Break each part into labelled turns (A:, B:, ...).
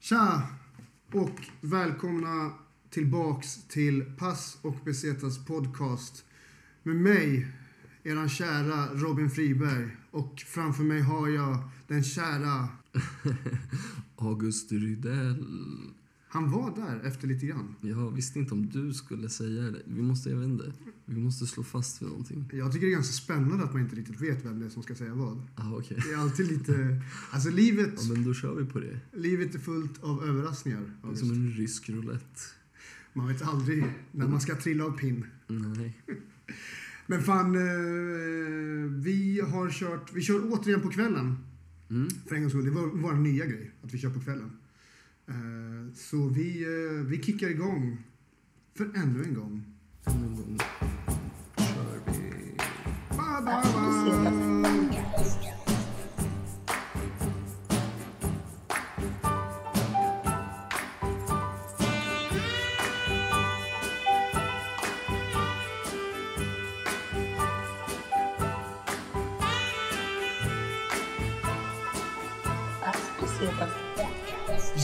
A: Tja! Och välkomna tillbaks till Pass och Besetas podcast. Med mig, eran kära Robin Friberg. Och framför mig har jag den kära...
B: August Rydell.
A: Han var där efter lite grann.
B: Jag visste inte om du skulle säga det. Vi måste, jag vet inte, vi måste slå fast vid någonting.
A: Jag tycker det är ganska spännande att man inte riktigt vet vem det är som ska säga vad.
B: Ah, okej.
A: Det är alltid lite... Alltså livet,
B: Ja, men då kör vi på det.
A: livet är fullt av överraskningar.
B: Det är
A: August.
B: som en rysk roulette.
A: Man vet aldrig när man ska trilla av pinn.
B: Nej.
A: Men fan, eh, vi har kört, vi kör återigen på kvällen.
B: Mm.
A: För en gångs skull, det var vår nya grej, att vi kör på kvällen. Eh, Så vi, eh, vi kickar igång för ännu en gång.
B: Än en gång kör vi.
A: Ba, ba, ba.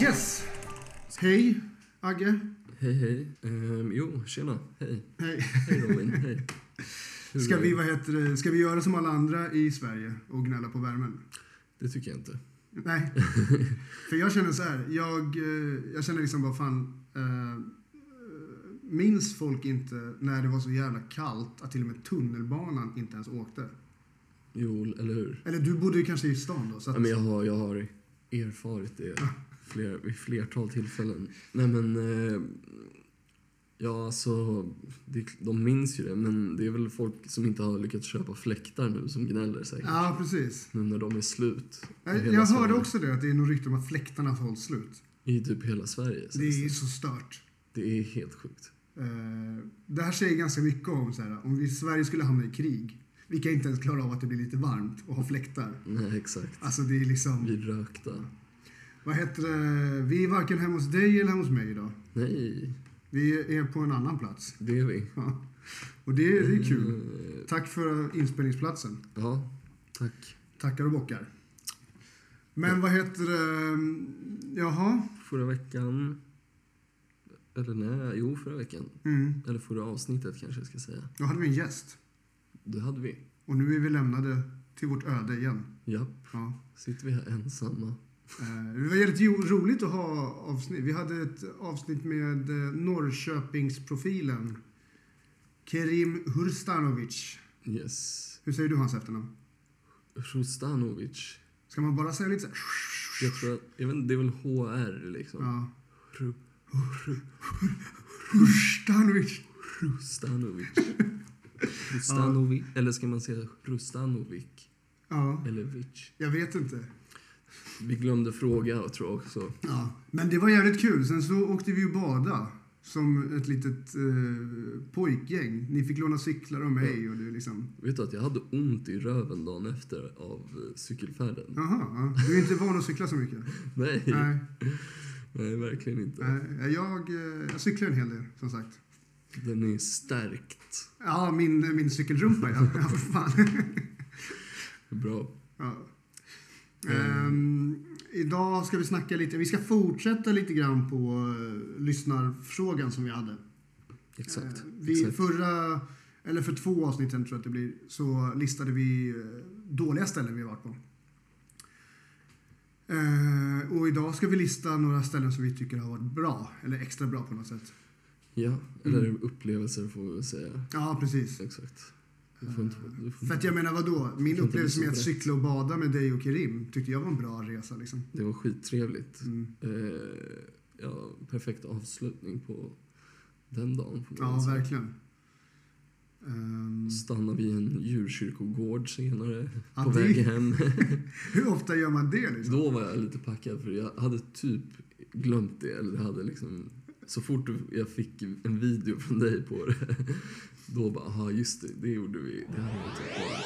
A: Yes! Hej, Agge.
B: Hej, hej. Ehm, jo, tjena. Hej.
A: Hej.
B: Hej, Robin. Hej. Hur
A: Ska
B: är
A: vi,
B: det?
A: vad heter det, ska vi göra som alla andra i Sverige och gnälla på värmen?
B: Det tycker jag inte.
A: Nej. För jag känner så här. Jag, eh, jag känner liksom bara fan. Eh, minns folk inte när det var så jävla kallt att till och med tunnelbanan inte ens åkte?
B: Jo, eller hur?
A: Eller du bodde ju kanske i stan då. Så att,
B: Ja, men jag, har, jag har erfarit det fler, vid flertal tillfällen. Nej, men... Eh, ja, alltså... Det, de minns ju det, men det är väl folk som inte har lyckats köpa fläktar nu som gnäller säkert.
A: Ja, precis.
B: Nu när de är slut. i
A: Jag,
B: hela
A: jag hörde
B: Sverige.
A: också det, att det är något rykte om att fläktarna hålls slut.
B: I typ hela Sverige.
A: Det
B: sägs
A: är så stört.
B: det. det är helt sjukt.
A: Eh, det här säger ganska mycket om så här, om vi i Sverige skulle hamna i krig. Vi kan inte ens klara av att det blir lite varmt och ha fläktar.
B: Nej, exakt.
A: Alltså det är liksom...
B: Vi rökta.
A: Vad heter det? Vi är varken hemma hos dig eller hemma hos mig idag.
B: Nej,
A: Vi är på en annan plats.
B: det är vi.
A: Ja. Och det, det är kul.
B: Eh,
A: Tack för inspelningsplatsen.
B: Ja, tack.
A: Tackar och bockar. Men vad heter det? Jaha.
B: Förra veckan... Eller nej, jo, förra veckan.
A: Mm.
B: Eller förra avsnittet kanske jag ska säga.
A: Då hade vi en gäst.
B: Det hade vi.
A: Och nu är vi lämnade till vårt öde igen.
B: Ja,
A: Ja.
B: sitter vi här ensamma.
A: Eh, Det var jävligt jo- roligt att ha avsnitt. Vi hade ett avsnitt med eh, Norrköpingsprofilen. Kerim Hurstanovic.
B: Yes.
A: Hur säger du hans efternamn?
B: Rustanovic.
A: Ska man bara säga lite så här?
B: Jag tror att, jag vet inte, det är väl HR liksom.
A: Ja.
B: Ru-
A: Hurstanovic.
B: Rustanovic. Rustanovic. Eller ska man säga Rustanovic?
A: Ja,
B: Eller Vic?
A: jag vet inte.
B: Vi glömde fråga tror jag också.
A: Ja. Men det var jävligt kul. Sen så åkte vi ju bada som ett litet eh, pojkgäng. Ni fick låna cyklar av mig och det liksom...
B: Vet du att jag hade ont i röven dagen efter av eh, cykelfärden?
A: Jaha, ja. du är inte van att cykla så mycket.
B: Nej, nej,
A: Nej,
B: verkligen inte.
A: nej. Jag, eh, jag cyklar en hel del, som sagt.
B: Den är stärkt.
A: Ja, min, min cykelrumpa ja. ja för fan.
B: Bra.
A: Ja.
B: Eh.
A: Ehm, idag ska vi snacka lite, vi ska fortsätta lite grann på eh, lyssnarfrågan som vi hade.
B: Exakt.
A: Eh, Vi
B: Exakt.
A: förra, eller för två avsnitt sen tror jag att det blir, så listade vi eh, dåliga ställen vi har varit på. Eh, Och idag ska vi lista några ställen som vi tycker har varit bra, eller extra bra på något sätt.
B: Ja, eller
A: Mm.
B: upplevelser får vi väl säga.
A: Ja, precis.
B: Exakt. Du får inte, du får
A: För att
B: inte.
A: jag menar vadå, min
B: inte
A: upplevelse med att
B: bli så
A: cykla och bada med dig och Kerim tyckte jag var en bra resa liksom.
B: Det var skittrevligt.
A: Mm.
B: Eh, ja, perfekt avslutning på den dagen. får man
A: Ja,
B: säga.
A: verkligen. Ehm,
B: Stannade vid en djurkyrkogård senare
A: Ja,
B: på
A: det-
B: väg hem.
A: Hur ofta gör man det liksom?
B: Då var jag lite packad för jag hade typ glömt det. Eller jag hade liksom, så fort jag fick en video från dig på det, då bara, aha just det, det gjorde vi. Det hade jag typ på.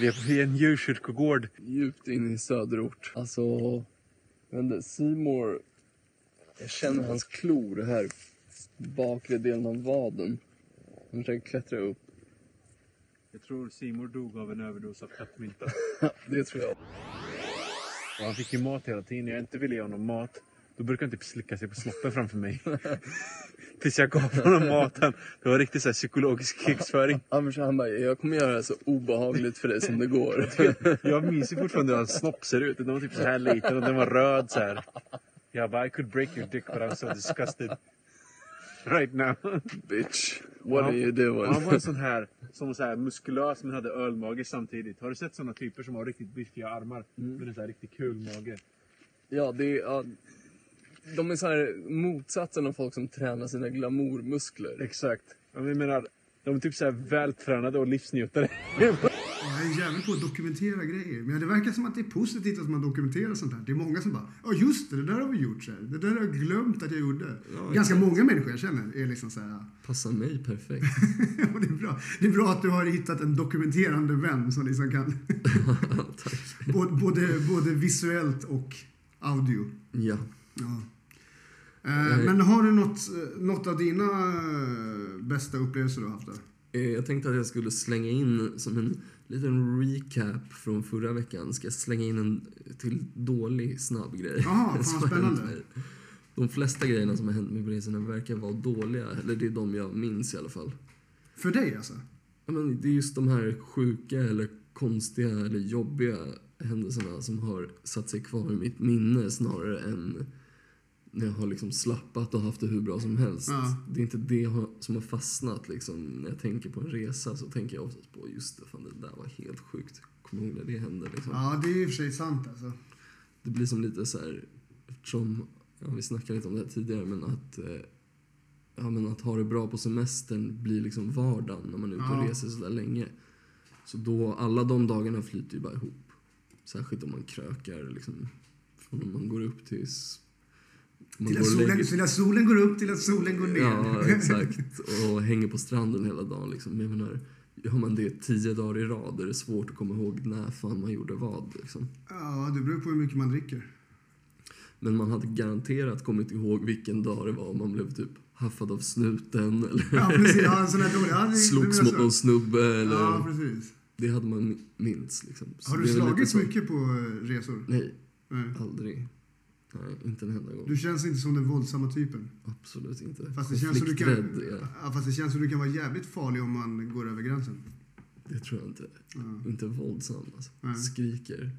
C: Vi är på en djurkyrkogård.
B: Djupt in i söderort. Alltså, jag vet inte, Seymour, jag känner hans klor här, bakre delen av vaden. Han försöker klättra upp.
C: Jag tror Simon dog av en överdos av kattmynta.
B: Det tror jag.
C: Och Han fick ju mat hela tiden. Jag inte ville ge honom mat. Då brukade han typ slicka sig på snoppen framför mig. Tills jag gav honom maten. Det var riktigt så här psykologisk krigsföring.
B: Anders han bara, jag kommer göra det så obehagligt för dig som det går.
C: Jag minns ju fortfarande hur hans snopp ser ut. Den var typ så här liten och den var röd så här. Jag bara I could break your dick but I'm so disgusted. Right now.
B: Bitch, what
C: Ja.
B: are you doing?
C: Han var en sån här som var så här muskulös men hade ölmage samtidigt. Har du sett såna typer som har riktigt biffiga armar men en så här riktigt kul mage?
B: Ja, det är... Ja, de är så här motsatsen av folk som tränar sina glamourmuskler.
C: Exakt. Ja, men Jag menar, de är typ så här vältränade och livsnjutare.
A: Jag är jävligt på att dokumentera grejer. Men det verkar som att det är positivt att man dokumenterar sånt här. Det är många som bara ja just det, det där har vi gjort. Så här. Det där har jag glömt att jag gjorde.
B: Ja,
A: Ganska många människor jag känner är liksom så här.
B: Passar mig perfekt.
A: Ja, det, är bra. det är bra att du har hittat en dokumenterande vän som liksom kan
B: Tack.
A: både, både, både visuellt och audio.
B: Ja.
A: Ja. Eh,
B: Nej.
A: men har du något, eh, något av dina eh, bästa upplevelser du har haft där?
B: Eh, Jag tänkte att jag skulle slänga in som en liten recap från förra veckan. Ska jag slänga in en till dålig snabb grej?
A: Jaha, fan,
B: som har hänt
A: spännande.
B: mig. De flesta grejerna som har hänt med polisen verkar vara dåliga. Eller det är de jag minns i alla fall.
A: För dig alltså?
B: Ja, men det är just de här sjuka eller konstiga eller jobbiga händelserna som har satt sig kvar i mitt minne snarare än när jag har liksom slappat och haft det hur bra som helst.
A: Ja.
B: Det är inte det har- som har fastnat. Liksom. När jag tänker på en resa så tänker jag oftast på just det, fan, det där var helt sjukt. Kommer du ihåg när det hände? Liksom.
A: Ja, det är i och för sig sant alltså.
B: Det blir som lite så här, eftersom, ja, vi snackade lite om det här tidigare, men att, eh, ja, men att ha det bra på semestern blir liksom vardagen när man är ute och
A: Ja.
B: reser så där länge. Så då, alla de dagarna flyter ju bara ihop. Särskilt om man krökar liksom, från om man går upp tills... man
A: Till
B: går
A: att,
B: och
A: solen,
B: lägger-
A: till att solen går upp, till att solen går ner.
B: Ja, exakt. Och hänger på stranden hela dagen. Liksom. Men Jag menar, gör man det tio dagar i rad är det svårt att komma ihåg när fan man gjorde vad. Liksom.
A: ja, det beror på hur mycket man dricker.
B: Men man hade garanterat kommit ihåg vilken dag det var om man blev typ haffad av snuten eller
A: Ja, precis. Ja, en sån här dålig. Ja, det- det
B: slogs
A: menar
B: mot
A: jag
B: någon
A: så.
B: snubbe. Eller...
A: Ja, precis.
B: Det hade man minns liksom. Så
A: Har
B: det
A: du
B: är väl lite
A: slagit
B: så-
A: mycket på eh, resor?
B: Nej,
A: Nej.
B: aldrig. Nej, inte en enda gång.
A: Du känns inte som den våldsamma typen.
B: Absolut inte.
A: Fast det, känns som du kan,
B: Konflikträdd är jag.
A: ja, fast det känns som du kan vara jävligt farlig om man går över gränsen.
B: Det tror jag inte.
A: Ja.
B: Inte våldsam alltså.
A: Nej.
B: Skriker.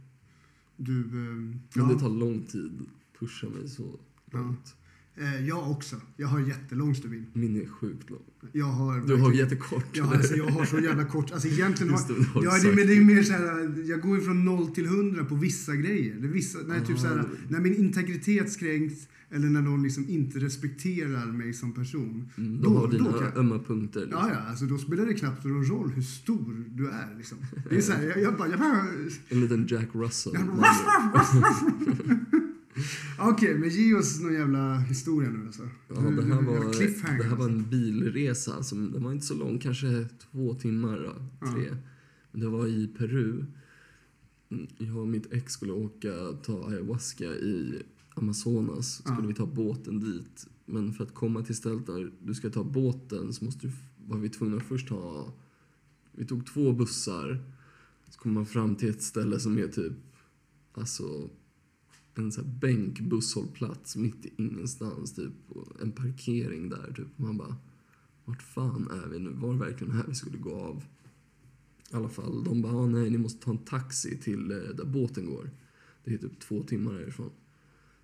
A: Du... eh,
B: Men
A: Ja,
B: det tar lång tid. Pusha mig så
A: Ja.
B: långt.
A: Eh, jag också. Jag har jättelång stubin.
B: Min är sjukt lång.
A: Jag har...
B: Du har jättekort.
A: Ja, alltså, jag har så jävla kort... Alltså egentligen har...
B: Just det, du har
A: Ja, det,
B: sagt.
A: men det är mer så här, jag går ju från 0 till 100 på vissa grejer. Det är vissa, när, typ så
B: Ah.
A: här, när min integritet kränks eller när någon liksom inte respekterar mig som person.
B: Mm,
A: Då-
B: De har
A: då
B: dina
A: kan jag-
B: ömma punkter. liksom.
A: Ja, ja, alltså då spelar det knappt någon roll hur stor du är. Liksom. Det är så här, jag, jag bara... Jag bara
B: En liten Jack Russell.
A: jag,
B: Man-
A: Okej, men ge oss någon jävla historia nu alltså.
B: Ja, det, här var,
A: cliffhanger,
B: det här var
A: alltså.
B: en bilresa. Som, den var inte så lång, kanske två timmar, då, tre. Men det var i Peru. Mm, Jag och mitt ex skulle åka ta ayahuasca i Amazonas. Skulle
A: Ja.
B: vi ta båten dit. Men för att komma till stället där du ska ta båten så måste du, var vi tvungna att först ha... Vi tog två bussar. Så kommer man fram till ett ställe som är typ... Alltså, en så här bänk, busshållplats mitt i ingenstans, typ. Och en parkering där, typ. Och man bara, vart fan är vi nu? Var det verkligen här vi skulle gå av? I alla fall, de bara, ah, nej, ni måste ta en taxi till eh, där båten går. Det är typ två timmar härifrån.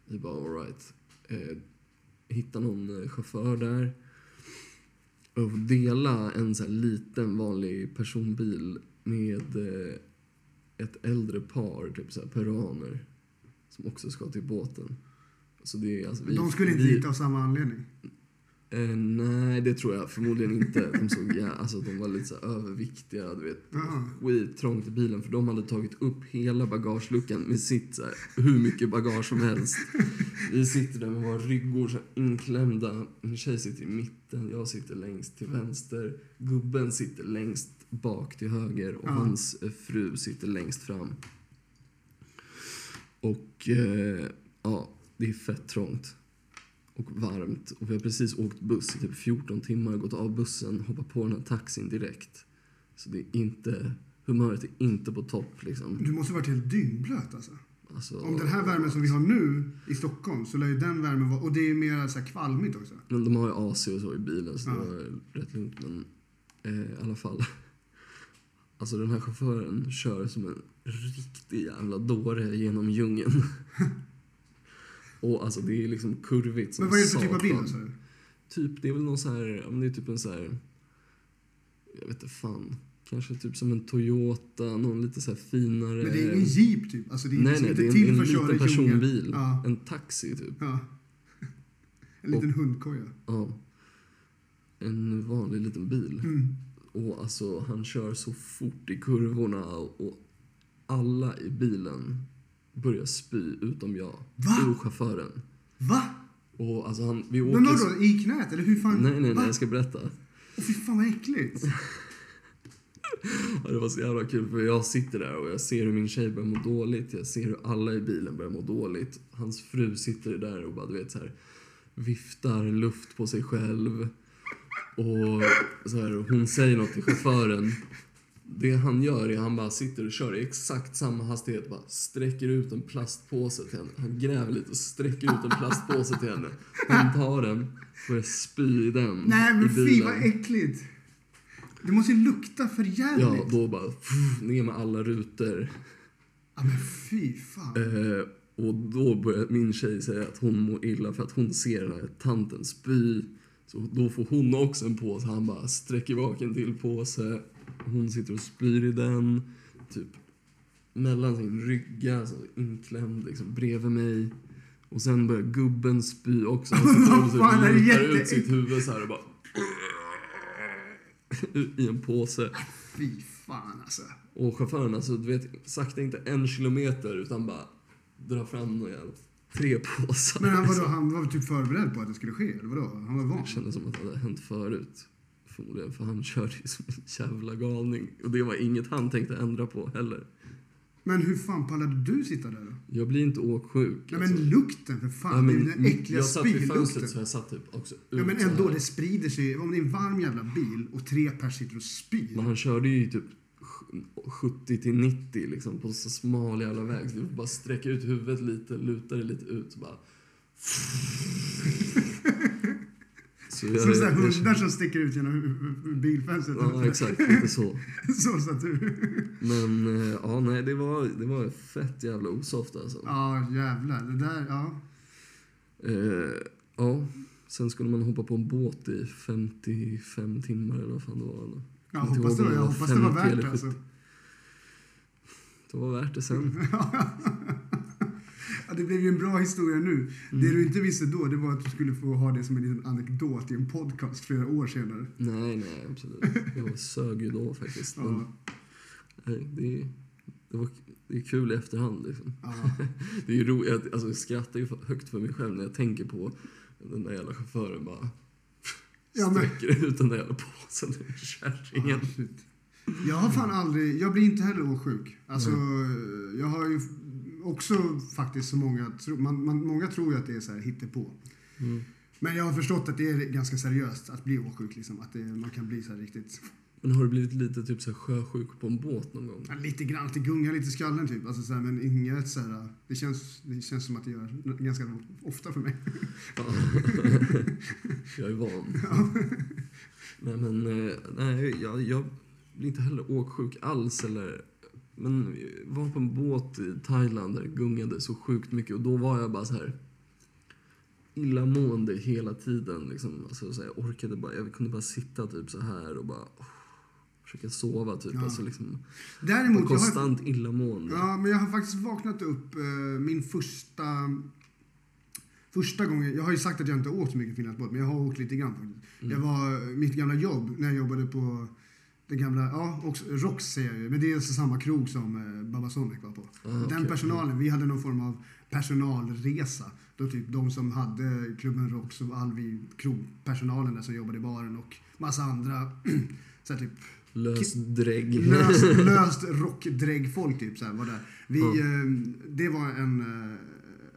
B: Vi bara, alright. Eh, hitta någon eh, chaufför där. Och dela en så här liten vanlig personbil med eh, ett äldre par, typ så här peruaner, som också ska till båten. Så det är alltså vi...
A: De skulle inte
B: vi,
A: hit av samma anledning.
B: Eh, nej, det tror jag förmodligen inte. De såg ja, alltså de var lite så här överviktiga, du vet.
A: Ja.
B: Skittrångt i bilen för de hade tagit upp hela bagageluckan med sitt så här, hur mycket bagage som helst. Vi sitter där med våra ryggor så här, inklämda. Min tjej sitter i mitten, jag sitter längst till vänster. Gubben sitter längst bak till höger och
A: Ja.
B: hans eh, fru sitter längst fram. Och eh, ja, det är fett trångt och varmt. Och vi har precis åkt buss i typ 14 timmar, gått av bussen, hoppat på den här taxin direkt. Så det är inte, humöret är inte på topp liksom.
A: Du måste ha varit helt dyngblöt alltså.
B: Ja, Alltså,
A: Om den här värmen som vi har nu i Stockholm så lär ju den värmen vara... Och det är ju mer så här kvalmigt också.
B: Men de har ju AC och så i bilen så
A: Ja.
B: det var rätt lugnt. Men eh, i alla fall. Alltså den här chauffören kör som en riktig jävla dåre genom djungeln. och alltså det är liksom kurvigt som
A: Men vad är det för typ av
B: satan.
A: bil? sa du?
B: Typ, det är väl någon så här, ja, men det är typ en så här, jag vet inte fan. Kanske typ som en Toyota, någon lite så här finare.
A: Men det är ingen jeep typ. Alltså det är
B: nej,
A: liksom
B: nej,
A: inte
B: det är en,
A: till
B: en
A: för att köra
B: liten
A: i djungeln.
B: personbil.
A: Ja,
B: En taxi typ.
A: ja. En liten hundkoja.
B: Ja. En vanlig liten bil.
A: Mm.
B: Och alltså han kör så fort i kurvorna och alla i bilen börjar spy utom jag.
A: Va?
B: Och chauffören.
A: Va?
B: Och alltså han, vi åker...
A: Men vadå, i knät? Eller hur fan?
B: Nej, nej,
A: Va?
B: nej, jag ska berätta.
A: Åh, fy fan vad äckligt.
B: Ja, det var så jävla kul för jag sitter där och jag ser hur min tjej börjar må dåligt. Jag ser hur alla i bilen börjar må dåligt. Hans fru sitter där och bara, du vet så här, viftar luft på sig själv. Och så här, hon säger något till chauffören. Det han gör är att han bara sitter och kör i exakt samma hastighet. Bara sträcker ut en plastpåse till henne. Han gräver lite och sträcker ut en plastpåse till henne. Hon tar den, börjar spy i den
A: Nej men
B: i
A: fy vad äckligt. Det måste ju lukta för jävligt.
B: Ja,
A: Ja,
B: då bara pff, ner med alla rutor.
A: men fy fan.
B: Eh, och då börjar min tjej säga att hon mår illa för att hon ser den här tanten spy. Så då får hon också en påse. Han bara sträcker bak en till påse. Hon sitter och spyr i den. Typ mellan sin rygga, så inklämd liksom bredvid mig. Och sen börjar gubben spy också. Han sitter och
A: Fan, det är
B: typ lutar ut
A: jätteäck-
B: sitt huvud så här och bara... I en påse.
A: Fy fan alltså.
B: Och chauffören, alltså du vet, sakta inte en kilometer utan bara drar fram några jävla tre påsar.
A: Men han, vadå, han var typ förberedd på att det skulle ske? Eller vadå? Han var van?
B: Det kändes som att det hade hänt förut. Förmodligen, för han körde ju som en jävla galning. Och det var inget han tänkte ändra på heller.
A: Men hur fan pallade du sitta där då?
B: Jag blir inte åksjuk.
A: Nej
B: alltså.
A: men lukten för fan.
B: Ja,
A: det är
B: men
A: den där äckliga
B: jag satt vid fönstret så
A: spylukten.
B: jag satt typ också ut
A: Ja men
B: så
A: ändå,
B: här.
A: det sprider sig. Om det är en varm jävla bil och tre pers sitter och spyr.
B: Men han körde ju typ 70 till 90 liksom på så smal jävla väg. Så du får bara sträcka ut huvudet lite, luta det lite ut så bara... Så jag,
A: Som sådana
B: jag-
A: hundar som sticker ut genom hu- hu- hu- bilfönstret.
B: Ja, exakt. Lite så.
A: så satt du.
B: Men eh, ja, nej, det var, det var fett jävla osoft alltså.
A: Ja, jävlar. Det där, ja.
B: Eh, ja, sen skulle man hoppa på en båt i 55 timmar eller vad fan det var. Eller?
A: Jag
B: Inte
A: hoppas det,
B: ihåg
A: var-
B: om
A: jag
B: det var
A: hoppas det var
B: 50
A: värt
B: eller
A: det alltså.
B: Det var värt det
A: Mm.
B: sen.
A: Ja, det blev ju en bra historia nu. Det du inte visste då, det var att du skulle få ha det som en liten anekdot i en podcast flera år senare.
B: Nej, nej, absolut. Jag sög ju då faktiskt. Men,
A: Ja,
B: nej, det, är- det, var, det är kul i efterhand liksom.
A: ja.
B: Det är ju roligt, jag- alltså jag skrattar ju för- högt för mig själv när jag tänker på den där jävla chauffören bara
A: Ja, men-
B: sträcker ut den där jävla påsen ur kärringen.
A: Ah, shit. Jag har fan aldrig, jag blir inte heller åksjuk. Alltså, jag har ju också faktiskt så många, tro- man, man, många tror ju att det är så här hittepå.
B: Mm.
A: Men jag har förstått att det är ganska seriöst att bli åksjuk liksom. Att det, man kan bli så här riktigt,
B: Men har du blivit lite typ så här sjösjuk på en båt någon gång?
A: ja, lite grann, att det gungar lite i skallen typ. Alltså så här, men inget så här, det känns, det känns som att det gör ganska ofta för mig.
B: Fan. jag är van. nej men, eh, nej jag, jag blir inte heller åksjuk alls eller men vi var på en båt i Thailand där det gungade så sjukt mycket och då var jag bara så här illamående hela tiden. Liksom. Alltså, så här, jag orkade bara, jag kunde bara sitta typ så här och bara oh, försöka sova typ.
A: Ja.
B: Alltså, liksom,
A: Däremot, jag har,
B: konstant illamående.
A: Ja, men jag har faktiskt vaknat upp eh, min första... Första gången, jag har ju sagt att jag inte har åkt så mycket finlandsbåt, men jag har åkt lite grann faktiskt.
B: Mm.
A: Jag var, eh, mitt gamla jobb, när jag jobbade på den gamla, ja, också, Rox säger jag ju, men det är alltså samma krog som eh, Babasonic var på.
B: Ah, okej. Mm.
A: Den personalen, vi hade någon form av personalresa. Då typ de som hade klubben Rox och all vi krogpersonalen där som jobbade i baren och massa andra, så här typ
B: Lös drägg.
A: löst, löst rockdräggfolk typ så här, var där. Vi, eh, det var en, eh,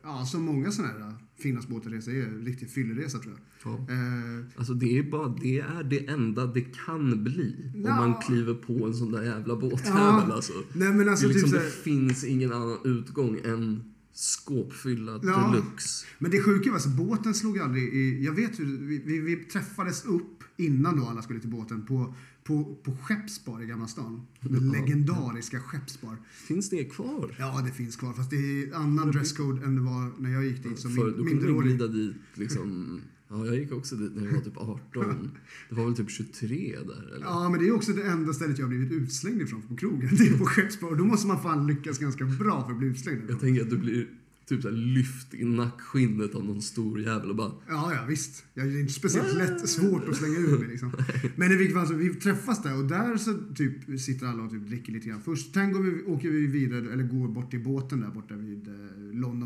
A: ja som många sådana här Finlandsbåtarresa är en riktig fylleresa tror jag.
B: Ja.
A: Eh,
B: Alltså det är, bara, det är det enda det kan bli
A: Ja.
B: om man kliver på en sån där jävla båtjävel
A: Ja.
B: alltså.
A: nej men
B: Det, är
A: alltså
B: liksom,
A: typ
B: det
A: såhär,
B: finns ingen annan utgång än skåpfylla
A: Ja.
B: deluxe.
A: Men det sjuka var alltså, båten slog aldrig i... Jag vet hur... Vi, vi, vi träffades upp innan då alla skulle till båten på, på, på Skeppsbar i Gamla stan. Den
B: Ja.
A: legendariska Skeppsbar.
B: Finns det kvar?
A: Ja, det finns kvar. Fast det är annan dresscode än det var när jag gick dit som
B: För då
A: Alltså, min,
B: kunde man
A: minderårig.
B: glida dit liksom. Ja, jag gick också dit när jag var typ 18. Det var väl typ 23 där eller?
A: Ja, men det är också det enda stället jag har blivit utslängd ifrån på krogen. Det är på Skeppsbar. Och då måste man fan lyckas ganska bra för att bli utslängd.
B: Jag
A: därifrån.
B: tänker att du blir typ så här lyft i nackskinnet av någon stor jävel och bara
A: Ja, ja, visst. Jag är inte speciellt lätt, svårt att slänga ur mig liksom. Men i vilket fall så, vi träffas där och där så typ sitter alla och typ dricker lite grann först. Sen går vi, åker vi vidare, eller går bort till båten där borta vid eh,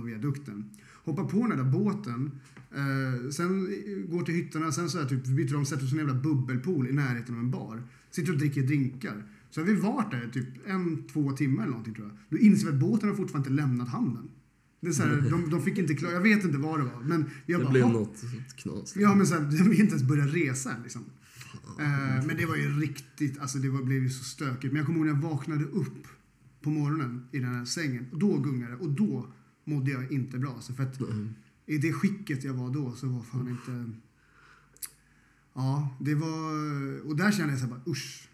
A: Londonviadukten. Hoppar på den där båten, eh, sen eh, går till hytterna, sen så här typ byter de, sätter sig i en jävla bubbelpool i närheten av en bar. Sitter och dricker drinkar. Så har vi varit där typ en, två timmar eller någonting tror jag. Då inser vi att båten har fortfarande inte lämnat hamnen. Det är så här, de, de fick inte klara, jag vet inte vad det var. Men jag
B: Det
A: bara,
B: blev
A: "Hopp."
B: något knas.
A: Ja, men så här, de vill inte ens börja resa än, liksom. Eh, men det var ju riktigt, alltså det var, blev ju så stökigt. Men jag kommer ihåg när jag vaknade upp på morgonen i den här sängen. Och då gungade det och då mådde jag inte bra. Alltså, för att
B: Mm.
A: i det skicket jag var då så var fan inte... Ja, det var... Och där kände jag så här bara usch.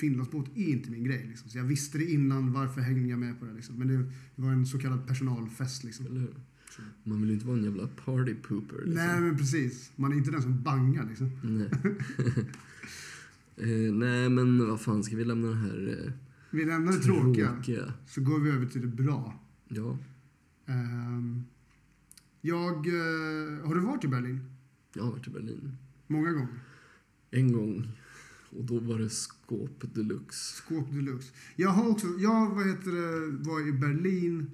A: Finlandsbåt är inte min grej. Liksom. Så jag visste det innan, varför hängde jag med på det? Liksom. Men det, det var en så kallad personalfest. Liksom.
B: Eller hur? Man vill ju inte vara en jävla party pooper. Liksom.
A: Nej, men precis. Man är inte den som bangar liksom.
B: Nej. eh, nej, men vad fan, ska vi lämna det här eh,
A: Vi lämnar det tråkiga.
B: tråkiga?
A: Så går vi över till det bra.
B: Ja.
A: Ehm, jag... eh, har du varit i Berlin?
B: Jag har varit i Berlin
A: Många gånger.
B: en gång och då var det skåp deluxe.
A: Skåp deluxe. Jag har också... Jag vad heter det, var i Berlin.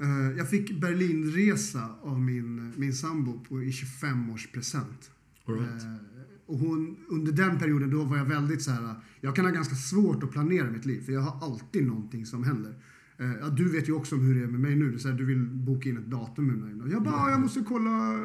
A: Eh, jag fick Berlinresa av min, min sambo på, i 25-årspresent.
B: All right.
A: Eh, och hon, under den perioden då var jag väldigt så här. Jag kan ha ganska svårt att planera mitt liv för jag har alltid någonting som händer. Eh, ja, du vet ju också om hur det är med mig nu. Det är så här, du vill boka in ett datum med mig. Jag bara, "Ah, jag måste kolla.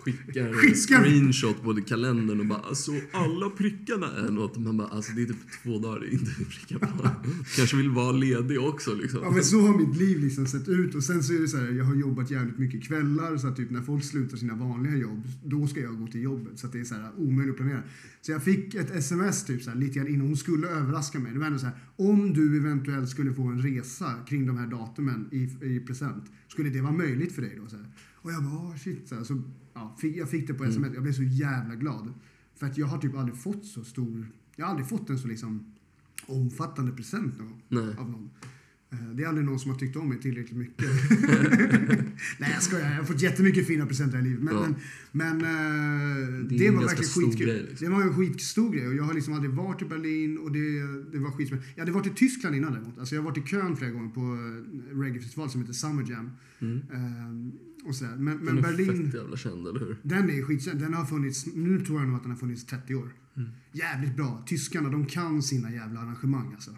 B: Skickar
A: Skickar-
B: screenshot på kalendern och bara alltså alla prickarna är något. Man bara alltså det är typ två dagar det är inte prickar på. Kanske vill vara ledig också liksom.
A: Ja, men så har mitt liv liksom sett ut. Och sen så är det så här, jag har jobbat jävligt mycket kvällar. Så att typ när folk slutar sina vanliga jobb, då ska jag gå till jobbet. Så att det är så här omöjligt att planera. Så jag fick ett sms typ så här, lite grann innan hon skulle överraska mig. Det var ändå så här, om du eventuellt skulle få en resa kring de här datumen i, i present, skulle det vara möjligt för dig då? Så här. Och jag bara, "Ah, shit. Så, här, så ja, fick, jag fick det på sms. Jag blev så jävla glad. För att jag har typ aldrig fått så stor, jag har aldrig fått en så liksom omfattande present någon gång
B: Nej.
A: av någon. Eh, Det är aldrig någon som har tyckt om mig tillräckligt mycket. Nej, jag skojar. Jag har fått jättemycket fina presenter i livet. Men,
B: Ja.
A: men, men eh,
B: Det
A: det,
B: är en
A: var
B: ganska
A: verkligen
B: stor
A: skitkul.
B: grej, liksom.
A: Det var en skitstor grej. Och jag har liksom aldrig varit i Berlin och det, det var skitsmäll. Jag hade varit i Tyskland innan däremot. Alltså, jag har varit i Köln flera gånger på eh, reggaefestival som heter Summer Jam.
B: Mm.
A: Eh, och sådär. Men,
B: Den
A: men
B: är
A: Berlin...
B: fett jävla känd, eller hur?
A: Den är skitkänd. Den har funnits, nu tror jag nog att den har funnits 30 år.
B: Mm.
A: Jävligt bra. Tyskarna, de kan sina jävla arrangemang alltså.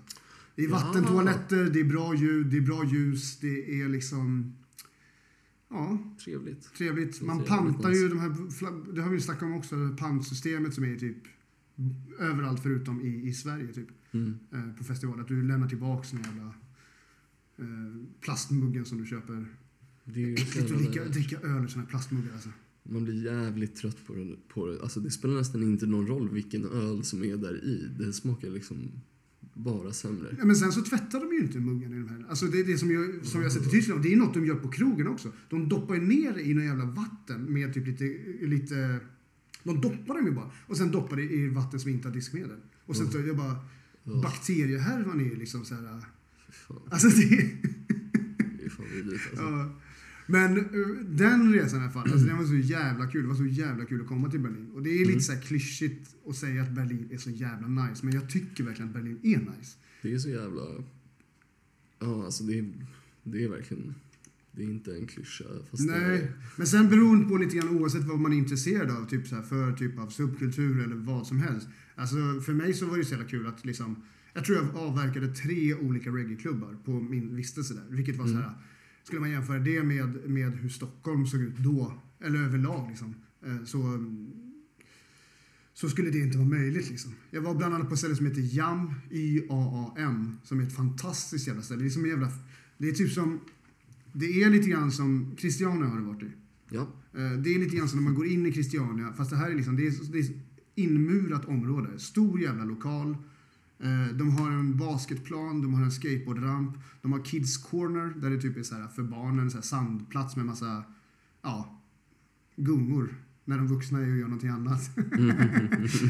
A: Det är
B: Ja.
A: vattentoaletter, det är bra ljud, det är bra ljus, det är liksom... Ja,
B: Trevligt.
A: trevligt.
B: Det är
A: Man
B: jävligt
A: pantar
B: nice.
A: ju de här... fla- Det har vi ju snackat om också, det här pantsystemet som är typ överallt förutom i, i Sverige typ.
B: Mm.
A: Eh, på festival. Att du lämnar tillbaks den jävla eh, plastmuggen som du köper.
B: Det är ju
A: Äckligt
B: så
A: att
B: jävla
A: dricka,
B: värt.
A: dricka öl ur såna här plastmuggar alltså.
B: Man blir jävligt trött på det. På det. Alltså, det spelar nästan inte någon roll vilken öl som är där i. Det smakar liksom bara sämre.
A: Ja, men sen så tvättar de ju inte muggen i de här. Alltså det är det som jag, som jag har sett i Tyskland. Det är något de gör på krogen också. De doppar ju ner i någon jävla vatten med typ lite, lite... De doppar dem ju bara. Och sen doppar det i vatten som inte har diskmedel. Och sen så jag bara...
B: Mm. Ja,
A: Bakteriehärvan är ju liksom så här...
B: fy fan.
A: Alltså det...
B: Det är fan vidrigt alltså.
A: Ja. Men eh, den resan i alla fall, alltså den var så jävla kul. Det var så jävla kul att komma till Berlin. Och det är lite
B: Mm.
A: så här klyschigt att säga att Berlin är så jävla nice. Men jag tycker verkligen att Berlin är nice.
B: Det är så jävla... Ja, alltså det är, det är verkligen... Det är inte en klyscha. Fast Det
A: Nej,
B: är,
A: men sen beroende på lite grann oavsett vad man är intresserad av, typ så här, för typ av subkultur eller vad som helst. Alltså för mig så var det så jävla kul att
B: Mm.
A: liksom, jag tror jag avverkade tre olika reggaeklubbar på min vistelse där, vilket var så här, Skulle man jämföra det med, med hur Stockholm såg ut då, eller överlag liksom, eh, så, mm, så skulle det inte vara möjligt. Liksom. Jag var bland annat på ett ställe som heter Jam, Y-A-A-M, som är ett fantastiskt jävla ställe. Det är som en jävla... Det är typ som... Det är lite grann som Christiania har det varit i.
B: Ja.
A: Eh, Det är lite grann som när man går in i Christiania, fast det här är liksom, det är, det är inmurat område. Stor jävla lokal. Eh, De har en basketplan, de har en skateboardramp, de har kids corner där det typ är så här för barnen, så här sandplats med massa, ja, gungor. När de vuxna är och gör någonting annat. Nej,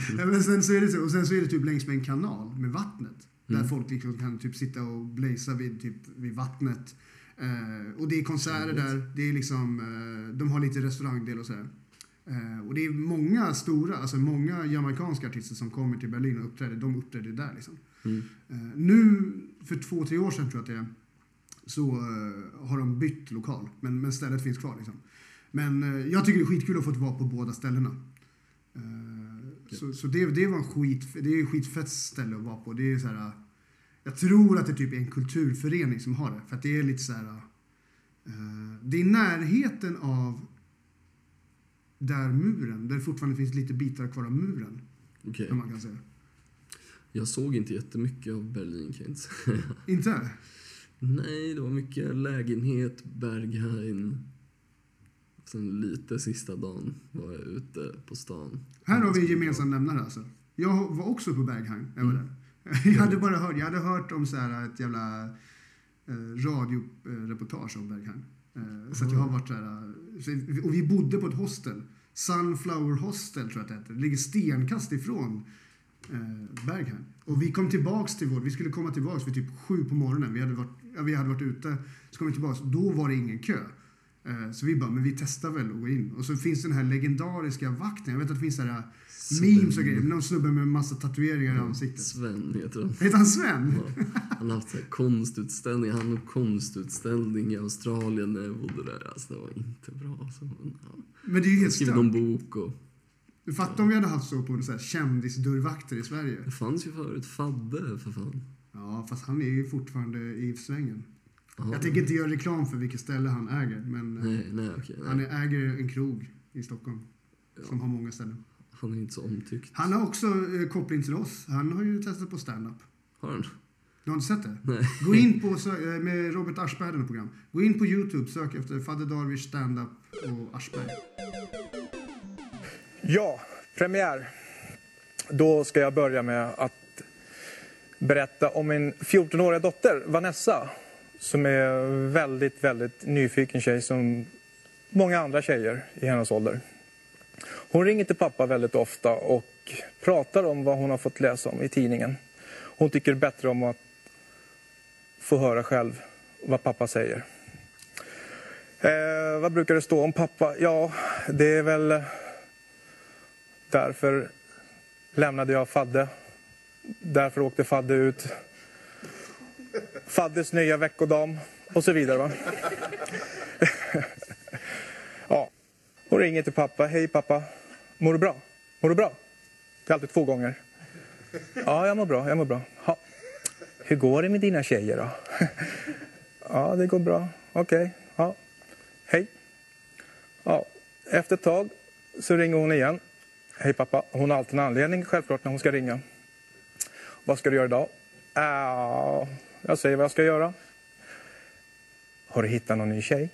A: Men sen så är det så, och sen så är det typ längs med en kanal med vattnet. Där folk liksom kan typ sitta och blazea vid, typ, vid vattnet. Eh, och det är konserter där. Det är liksom, eh, de har lite restaurangdel och sådär. Eh, och det är många stora, alltså många jamaicanska artister som kommer till Berlin och uppträder. De uppträder där liksom.
B: Mm.
A: Eh, nu, för två, tre år sedan tror jag att det är, så eh, har de bytt lokal. Men, men stället finns kvar liksom. Men eh, jag tycker det är skitkul att få vara på båda ställena. Eh, Så, så det, det var en skit, det är ett skitfett ställe att vara på. Det är så här, eh, jag tror att det typ är en kulturförening som har det. För att det är lite så här... eh, det är närheten av där muren, där det fortfarande finns lite bitar kvar av muren.
B: Okej.
A: Kan man kan säga.
B: Jag såg inte jättemycket av Berlin, kan jag inte säga.
A: Inte?
B: Nej, det var mycket lägenhet, Berghain. Sen lite sista dagen var jag ute på stan.
A: Här har vi en gemensam nämnare alltså. Jag var också på Berghain. Jag, var där. jag hade bara hört, jag hade hört om så här ett jävla eh, radioreportage om Berghain. Eh, så att jag har varit där. Och vi bodde på ett hostel. Sunflower Hostel tror jag att det heter. Det ligger stenkast ifrån eh, Berghain. Och vi kom tillbaks till vår, vi skulle komma tillbaks vid typ sju på morgonen. Vi hade varit, ja, vi hade varit ute, så kom vi tillbaks. Då var det ingen kö. Eh, Så vi bara, men vi testar väl att gå in. Och så finns den här legendariska vakten. Jag vet att det finns så här memes och grejer. Någon snubbe med massa tatueringar i ansiktet.
B: Sven heter han.
A: Heter han Sven?
B: Ja, Han har haft så här konstutställning. Han hade konstutställning i Australien när jag bodde där. Alltså, det var inte bra. Alltså, men, ja.
A: Men det är ju
B: Han har
A: helt
B: skrivit
A: stört.
B: någon bok och...
A: Fatta om vi hade haft så på så här kändisdörrvakter i Sverige.
B: Det fanns ju förut. Fadde, för fan.
A: Ja, fast han är ju fortfarande i svängen.
B: Jaha.
A: Jag tänker inte göra reklam för vilket ställe han äger, men eh,
B: Nej, nej, okej. nej.
A: han är- äger en krog i Stockholm som har många ställen.
B: Han är inte så omtyckt.
A: Han har också eh, koppling till oss. Han har ju testat på stand-up.
B: Har han?
A: Du har inte sett det?
B: Nej.
A: Gå in på, sö- eh, med Robert Aschberg hade något program. Gå in på Youtube, sök efter Fader Darwish stand-up och Aschberg.
D: Ja, premiär. Då ska jag börja med att berätta om min 14-åriga dotter Vanessa som är väldigt, väldigt nyfiken tjej som många andra tjejer i hennes ålder. Hon ringer till pappa väldigt ofta och pratar om vad hon har fått läsa om i tidningen. Hon tycker bättre om att få höra själv vad pappa säger. Eh, vad brukar det stå om pappa? Ja, det är väl Därför lämnade jag Fadde. Därför åkte Fadde ut. Faddes nya veckodam och så vidare. Va? ja. Och ringer till pappa. Hej pappa. Mår du bra? Mår du bra? Det är alltid två gånger. Ja, jag mår bra. Jag mår bra. Ha. Hur går det med dina tjejer då? ja, det går bra. Okej. Ja. Hej. Ja. Efter ett tag så ringer hon igen. Hej pappa. Hon har alltid en anledning självklart när hon ska ringa. Vad ska du göra idag? Äh, jag säger vad jag ska göra. Har du hittat någon ny tjej?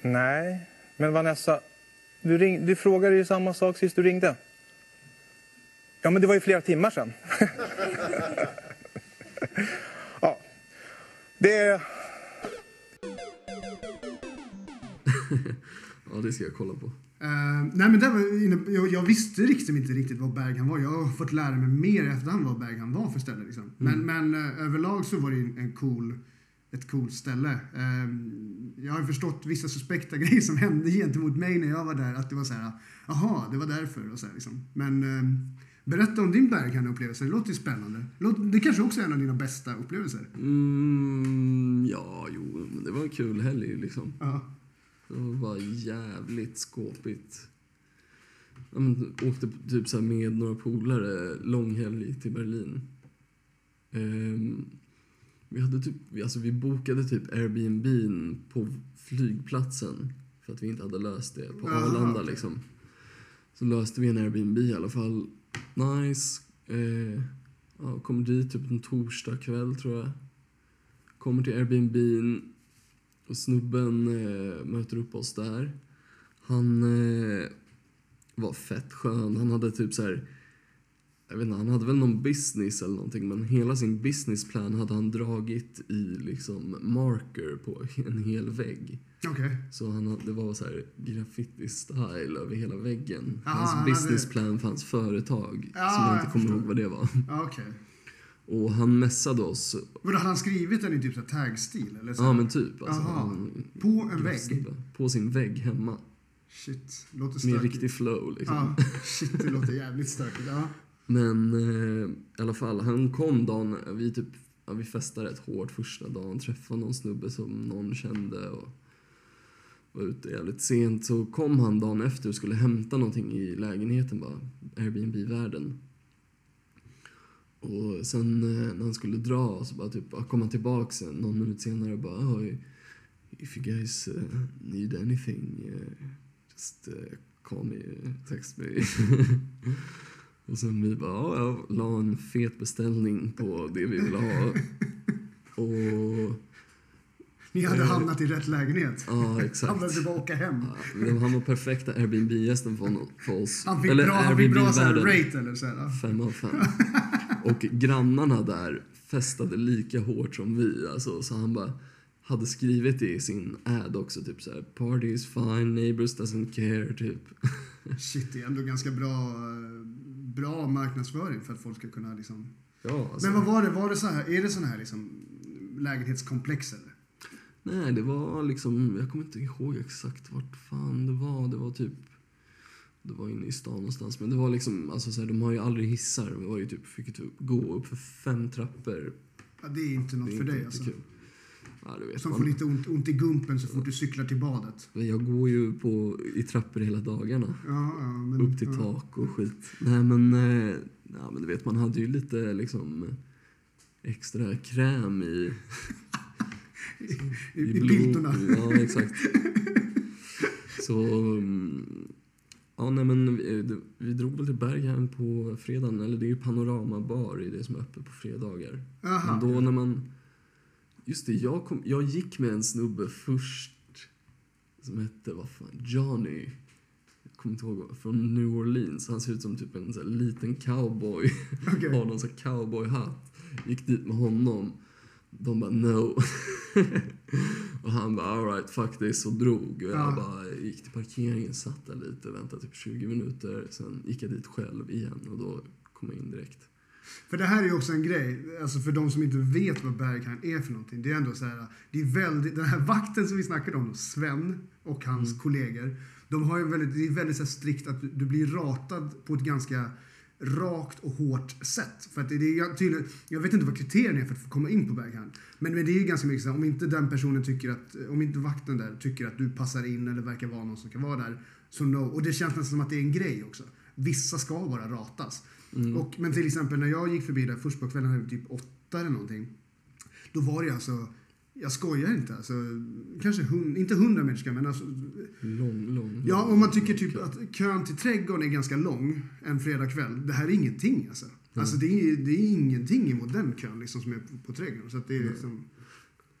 D: Nej, men Vanessa, du, ring, du frågade ju samma sak sist du ringde. Ja, men det var ju flera timmar sedan. ja, det är
B: Ja, det ska jag kolla på.
A: Eh, nej men det var inne, jag, jag visste liksom inte riktigt vad Berghain var. Jag har fått lära mig mer i efterhand vad Berghain var för ställe. Liksom. Men, men eh, överlag så var det ju en, en cool, ett coolt ställe. Eh, jag har ju förstått vissa suspekta grejer som hände gentemot mig när jag var där. Att det var så här, jaha, det var därför. Och så här, liksom. Men eh, berätta om din Berghain-upplevelse. Det låter ju spännande. Låt- Det kanske också är en av dina bästa upplevelser.
B: Mm, ja, jo, men det var en kul helg liksom.
A: Ja.
B: Det var bara Mm, jävligt skåpigt. Ja, men, åkte på- typ så här med några polare långhelg till Berlin. Ehm, Vi, hade typ, vi- alltså vi bokade typ Airbnb på flygplatsen för att vi inte hade löst det på
A: Aha,
B: Arlanda
A: okej.
B: liksom. Så löste vi en Airbnb i alla fall. Nice. Eh, ja, kom dit typ en torsdag kväll tror jag. Kommer till Airbnb och snubben eh, möter upp oss där. Han eh, var fett skön. Han hade typ så här jag vet inte, han hade väl någon business eller någonting men hela sin businessplan hade han dragit i liksom marker på en hel vägg.
A: Okej.
B: Så han, hade- det var så här graffiti-style över hela väggen.
A: Jaha, han
B: Hans
A: hade-
B: businessplan för hans företag
A: Ja,
B: som jag
A: jag
B: inte kommer
A: förstår.
B: ihåg vad det var.
A: Ja, okej.
B: Och han messade oss,
A: Vadå, hade han skrivit den i typ så här tag-stil? Eller så?
B: ja men typ. Alltså,
A: Jaha.
B: han-
A: På en vägg?
B: graffsnubbe, På sin vägg hemma.
A: Shit, låter
B: Med
A: stökigt.
B: riktig flow liksom.
A: Ja, shit, det låter jävligt stökigt. Ja.
B: Men eh, i alla fall, han kom dagen, vi typ, ja, vi festade rätt hårt första dagen, träffade någon snubbe som någon kände och var ute jävligt sent. Så kom han dagen efter och skulle hämta någonting i lägenheten bara, Airbnb-världen. Och sen eh, när han skulle dra så bara typ, bara kom han tillbaks sen, någon minut senare och bara oh, If you guys eh, need anything eh, just eh, call me, eh, text me. Och sen vi bara, ja, jag la en fet beställning på det vi ville ha. Och,
A: Ni hade
B: Eh,
A: hamnat i rätt lägenhet.
B: ja
A: Han typ-
B: exakt.
A: behövde bara åka hem.
B: Ja, men Han var perfekta Airbnb-gästen för, honom- för oss.
A: Han fick bra, han fick bra så här
B: Airbnb-världen.
A: rate eller så här. ja.
B: Fem av fem. Och grannarna där festade lika hårt som vi. Alltså, så han bara hade skrivit det i sin ad också. Typ så här, party is fine, neighbors doesn't care, typ.
A: Shit, det är ändå ganska bra, eh, bra marknadsföring för att folk ska kunna liksom...
B: Ja, alltså.
A: Men vad var det? Var det så här? Är det sån här liksom lägenhetskomplex eller?
B: Nej, det var liksom... Jag kommer inte ihåg exakt vart fan det var. Det var typ... Det var inne i stan någonstans. Men det var liksom... Alltså så här, de har ju aldrig hissar. Vi var ju typ, fick ju typ gå upp för fem trappor.
A: Ja, det är inte något
B: Det är
A: för
B: inte
A: dig alltså.
B: jättekul. Ja, du vet.
A: Som
B: man.
A: får lite ont, ont i gumpen så fort du cyklar till badet.
B: Men Jag går ju på, i trappor hela dagarna.
A: Ja, ja, men,
B: Upp till
A: Mm, ja.
B: tak och skit. Nej, men... eh, Ja, men du vet, man hade ju lite liksom extra kräm i...
A: I, i biltorna.
B: Ja, exakt. Så... mm, Ja, nej, men vi, eh, det- vi drog väl till Berghagen på fredagen. Eller det är ju Panoramabar i det som är öppet på fredagar.
A: Aha.
B: Men då när man... Just det, jag, kom, jag gick med en snubbe först som hette, vad fan, Johnny. Jag kommer inte ihåg, vad- från New Orleans. Han ser ut som typ en så här liten cowboy.
A: Okej.
B: Har någon sån här cowboyhatt. Gick dit med honom. De bara no. och han bara alright fuck this och drog. Och jag
A: Ja.
B: bara gick till parkeringen, satt där lite, väntade typ 20 minuter. Sen gick jag dit själv igen och då kom jag in direkt.
A: För det här är ju också en grej, alltså för de som inte vet vad Berghain är för någonting. Det är ändå så här, det är väldigt, den här vakten som vi snackade om, Sven och hans kollegor. De har ju väldigt, det är väldigt så här strikt att du, du blir ratad på ett ganska rakt och hårt sätt. För att det är ju tydligt, jag vet inte vad kriterierna är för att få komma in på Berghain. Men, men det är ju ganska mycket så här, om inte den personen tycker att, om inte vakten där tycker att du passar in eller verkar vara någon som kan vara där, så no. Och det känns nästan som att det är en grej också. Vissa ska bara ratas. Och, men till exempel när jag gick förbi där först på kvällen, här typ åtta eller någonting. Då var det alltså, jag skojar inte, alltså, kanske hund, inte hundra människor men alltså.
B: Lång, lång, lång
A: Ja, om man tycker
B: lång
A: typ
B: kö.
A: att kön till trädgården är ganska lång en fredagkväll. Det här är ingenting alltså. Alltså det är, det är ingenting emot den kön liksom som är på, på trädgården. Så att det är liksom,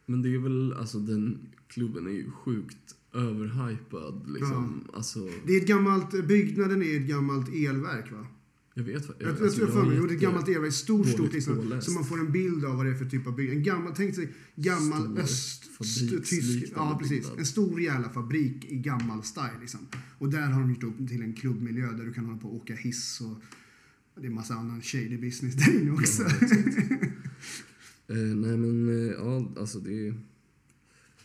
B: Men det är väl, alltså den klubben är ju sjukt överhypad liksom. Alltså,
A: det är ett gammalt, byggnaden är ett gammalt elverk va?
B: jag vet vad...
A: Jag, jag,
B: alltså,
A: tror jag för mig,
B: är
A: gjorde ett
B: jätte-
A: gammalt elverk, stort,
B: dåligt
A: stort liksom,
B: påläst.
A: så man får en bild av vad det är för typ av byggnad. En gammal, tänk sig gammal
B: Stor
A: östtysk,
B: fabriksliknande typ
A: ja precis.
B: byggnad.
A: En stor jävla fabrik i gammal style liksom. Och där har de gjort upp till en klubbmiljö där du kan hålla på och åka hiss och det är massa annan shady business där inne också.
B: Eh, nej men, eh, ja alltså det är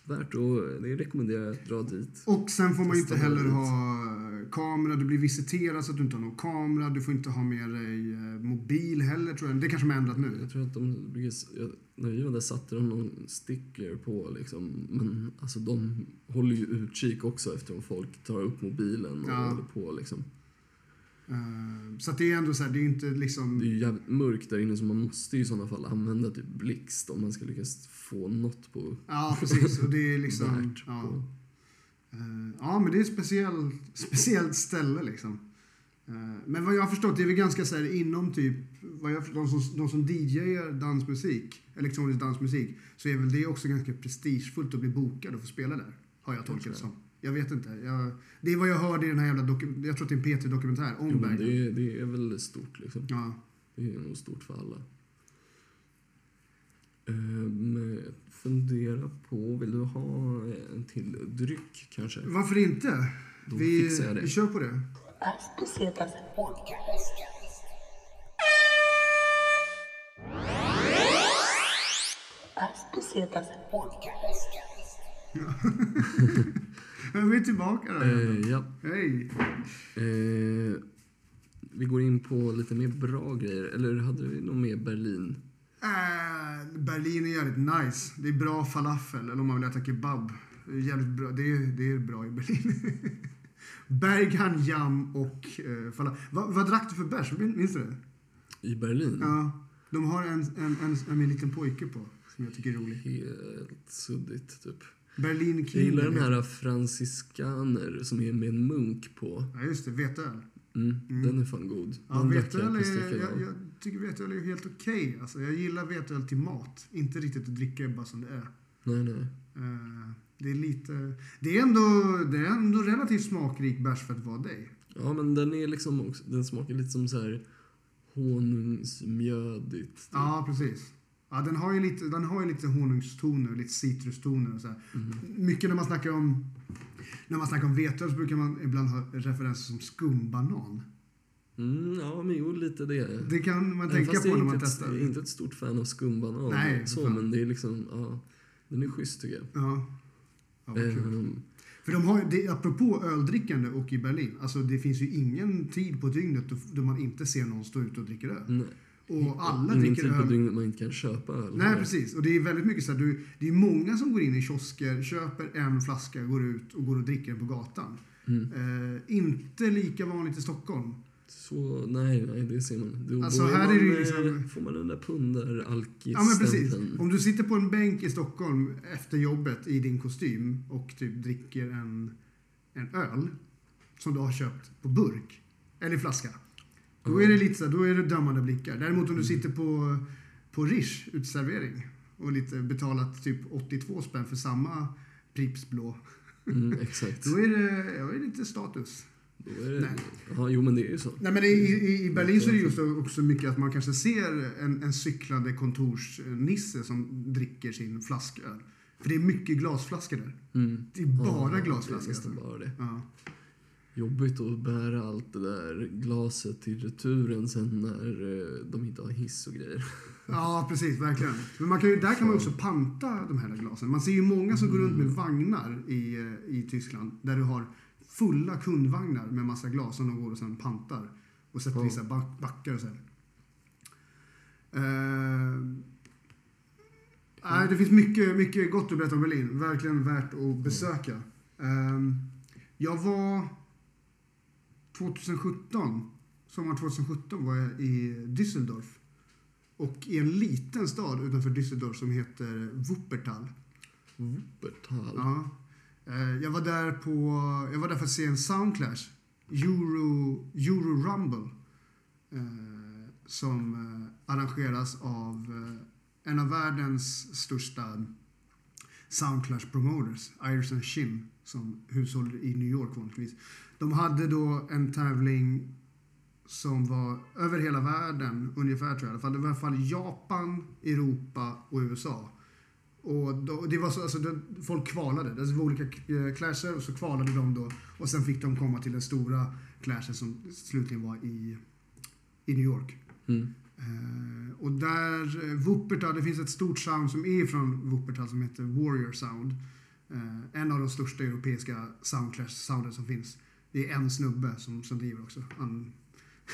B: värt att... Det rekommenderar jag att dra dit.
A: Och sen får man ju inte
B: Testa
A: heller
B: det.
A: ha eh, kamera, du blir visiterad så att du inte har någon kamera, du får inte ha med dig eh, mobil heller tror jag. Det kanske de har ändrat nu.
B: Jag tror att de brukar... s- Jag, när vi var där satte de någon sticker på liksom. Men alltså de håller ju utkik också efter om folk tar upp mobilen och
A: Ja.
B: håller på liksom.
A: Eh, Så att det är ändå så här, det är inte liksom...
B: Det är ju jävligt mörkt där inne så man måste ju i sådana fall använda typ blixt om man ska lyckas få något på
A: Ja, precis. Och det är liksom...
B: värt.
A: Ja.
B: på-
A: Eh, ja, men det är ett speciell, speciellt ställe liksom. Eh, men vad jag har förstått, det är väl ganska så här inom typ, vad jag har förstått, de som, de som DJar dansmusik, elektronisk dansmusik, så är väl det också ganska prestigefullt att bli bokad och få spela där. Har jag tolkat det som. Jag vet inte. Jag, det är vad jag hörde i den här jävla doku- jag tror att det är en P3-dokumentär om
B: Jo, men
A: Bergman.
B: det, är, det är väl stort liksom.
A: Ja.
B: Det är nog stort för alla. Ehm, fundera på, vill du ha en till dryck kanske?
A: Varför inte?
B: Då
A: Vi,
B: fixar jag det.
A: vi kör på det.
E: Las Pesetas Podcast. Las Pesetas Podcast.
A: Men vi är tillbaka där.
B: Eh, ja.
A: Hej!
B: Eh, vi går in på lite mer bra grejer. Eller hade vi något mer Berlin?
A: Äh, Berlin är jävligt nice. Det är bra falafel, eller om man vill äta kebab. Det är jävligt bra. Det är, det är bra i Berlin. Berghan, jam och eh, falafel. Va, vad drack du för bärs? Min- Minns du det?
B: Mm. I Berlin?
A: Ja. De har en, en, en, en, liten pojke på, som jag tycker är rolig.
B: Helt suddigt typ.
A: Berlin
B: Jag
A: King.
B: gillar den här Franciscaner som är med en munk på.
A: Ja, just det. Veteöl.
B: Mm, Den är fan god.
A: Ja,
B: den drack
A: veteöl
B: jag på
A: är,
B: sträckan
A: jag,
B: av.
A: jag tycker veteöl är helt okej. Alltså, jag gillar veteöl till mat. Inte riktigt att dricka bara som det är.
B: Nej, nej.
A: Eh, Det är lite... Det är ändå, det är ändå relativt smakrik bärs för att vara dig.
B: Ja, men den är liksom också, den smakar lite som så här honungsmjödigt. typ.
A: Ja, precis. Ja, den har ju lite, den har ju lite honungstoner, lite citrustoner och så här.
B: Mhm.
A: Mycket när man snackar om när man snackar om veteöl så brukar man ibland ha referenser som skumbanan.
B: Mm, ja, men jo, lite det.
A: Det kan man
B: Även
A: tänka
B: fast
A: på
B: jag
A: när
B: är
A: man
B: inte ett-
A: testar.
B: Jag är inte ett stort fan av skumbanan.
A: Nej,
B: så,
A: fan.
B: men det är liksom, ja. Den är schysst tycker jag.
A: Ja. Ja, vad kul.
B: Ehm,
A: För de har, ju- det, apropå öldrickande och i Berlin, alltså det finns ju ingen tid på dygnet då, då man inte ser någon stå ute och dricker öl.
B: nej.
A: Och alla
B: Ingen
A: dricker
B: tid på
A: öl
B: dygnet man inte kan köpa öl.
A: Nej, precis. Och det är väldigt mycket så här, du, det är många som går in i kiosker, köper en flaska, går ut och går och dricker den på gatan.
B: Mm.
A: Eh, inte lika vanligt i Stockholm.
B: Så, nej, nej, det ser man. Då,
A: Alltså,
B: då
A: här
B: man,
A: är det ju
B: eh,
A: liksom-
B: får man den där pundar alkis
A: Ja, men precis. Om du sitter på en bänk i Stockholm efter jobbet i din kostym och typ dricker en, en öl som du har köpt på burk eller i flaska. Då är det lite så här, då är det dömande blickar. Däremot om du sitter på, på Rish uteservering och lite betalat typ 82 spänn för samma Pripps blå.
B: Mm, exakt.
A: Då är det, ja, det är lite status.
B: Då är det,
A: Nej.
B: ja, jo, men det är ju så.
A: Nej, men i, i, I Berlin så är det just också mycket att man kanske ser en, en cyklande kontorsnisse som dricker sin flasköl. För det är mycket glasflaskor där.
B: Mm.
A: Det är bara
B: Ja,
A: glasflaskor.
B: Det är nästan
A: Alltså.
B: bara det.
A: Ja.
B: Jobbigt att bära allt det där glaset till returen sen när eh, de inte har hiss och grejer.
A: ja, precis. Verkligen. Men man kan ju, där kan man också panta de här glasen. Man ser ju många som går runt med vagnar i, eh, i Tyskland där du har fulla kundvagnar med massa glas som de går och sen pantar och sätter i
B: Ja.
A: så här back, backar och så här. Eh, Nej, det finns mycket, mycket gott att berätta om Berlin. Verkligen värt att besöka. Ehm, jag var 2017, sommar 2017 var jag i Düsseldorf. Och i en liten stad utanför Düsseldorf som heter Wuppertal.
B: Wuppertal.
A: Ja. Eh, Jag var där på, jag var där för att se en Soundclash. Euro, Euro Rumble. eh, Som eh, arrangeras av eh, en av världens största Soundclash promoters, Iris and Shin, som hushåller i New York vanligtvis. De hade då en tävling som var över hela världen ungefär tror jag. I alla fall, det var i alla fall Japan, Europa och USA. Och då, det var så, alltså, det, folk kvalade. Det var olika eh, clasher och så kvalade de då. Och sen fick de komma till den stora clashen som slutligen var i, i New York.
B: Mm.
A: Eh, och där, eh, Wuppertal, det finns ett stort sound som är från Wuppertal som heter Warrior Sound. Eh, en av de största europeiska soundclash-sounden som finns. Det är en snubbe som, som driver också. Han,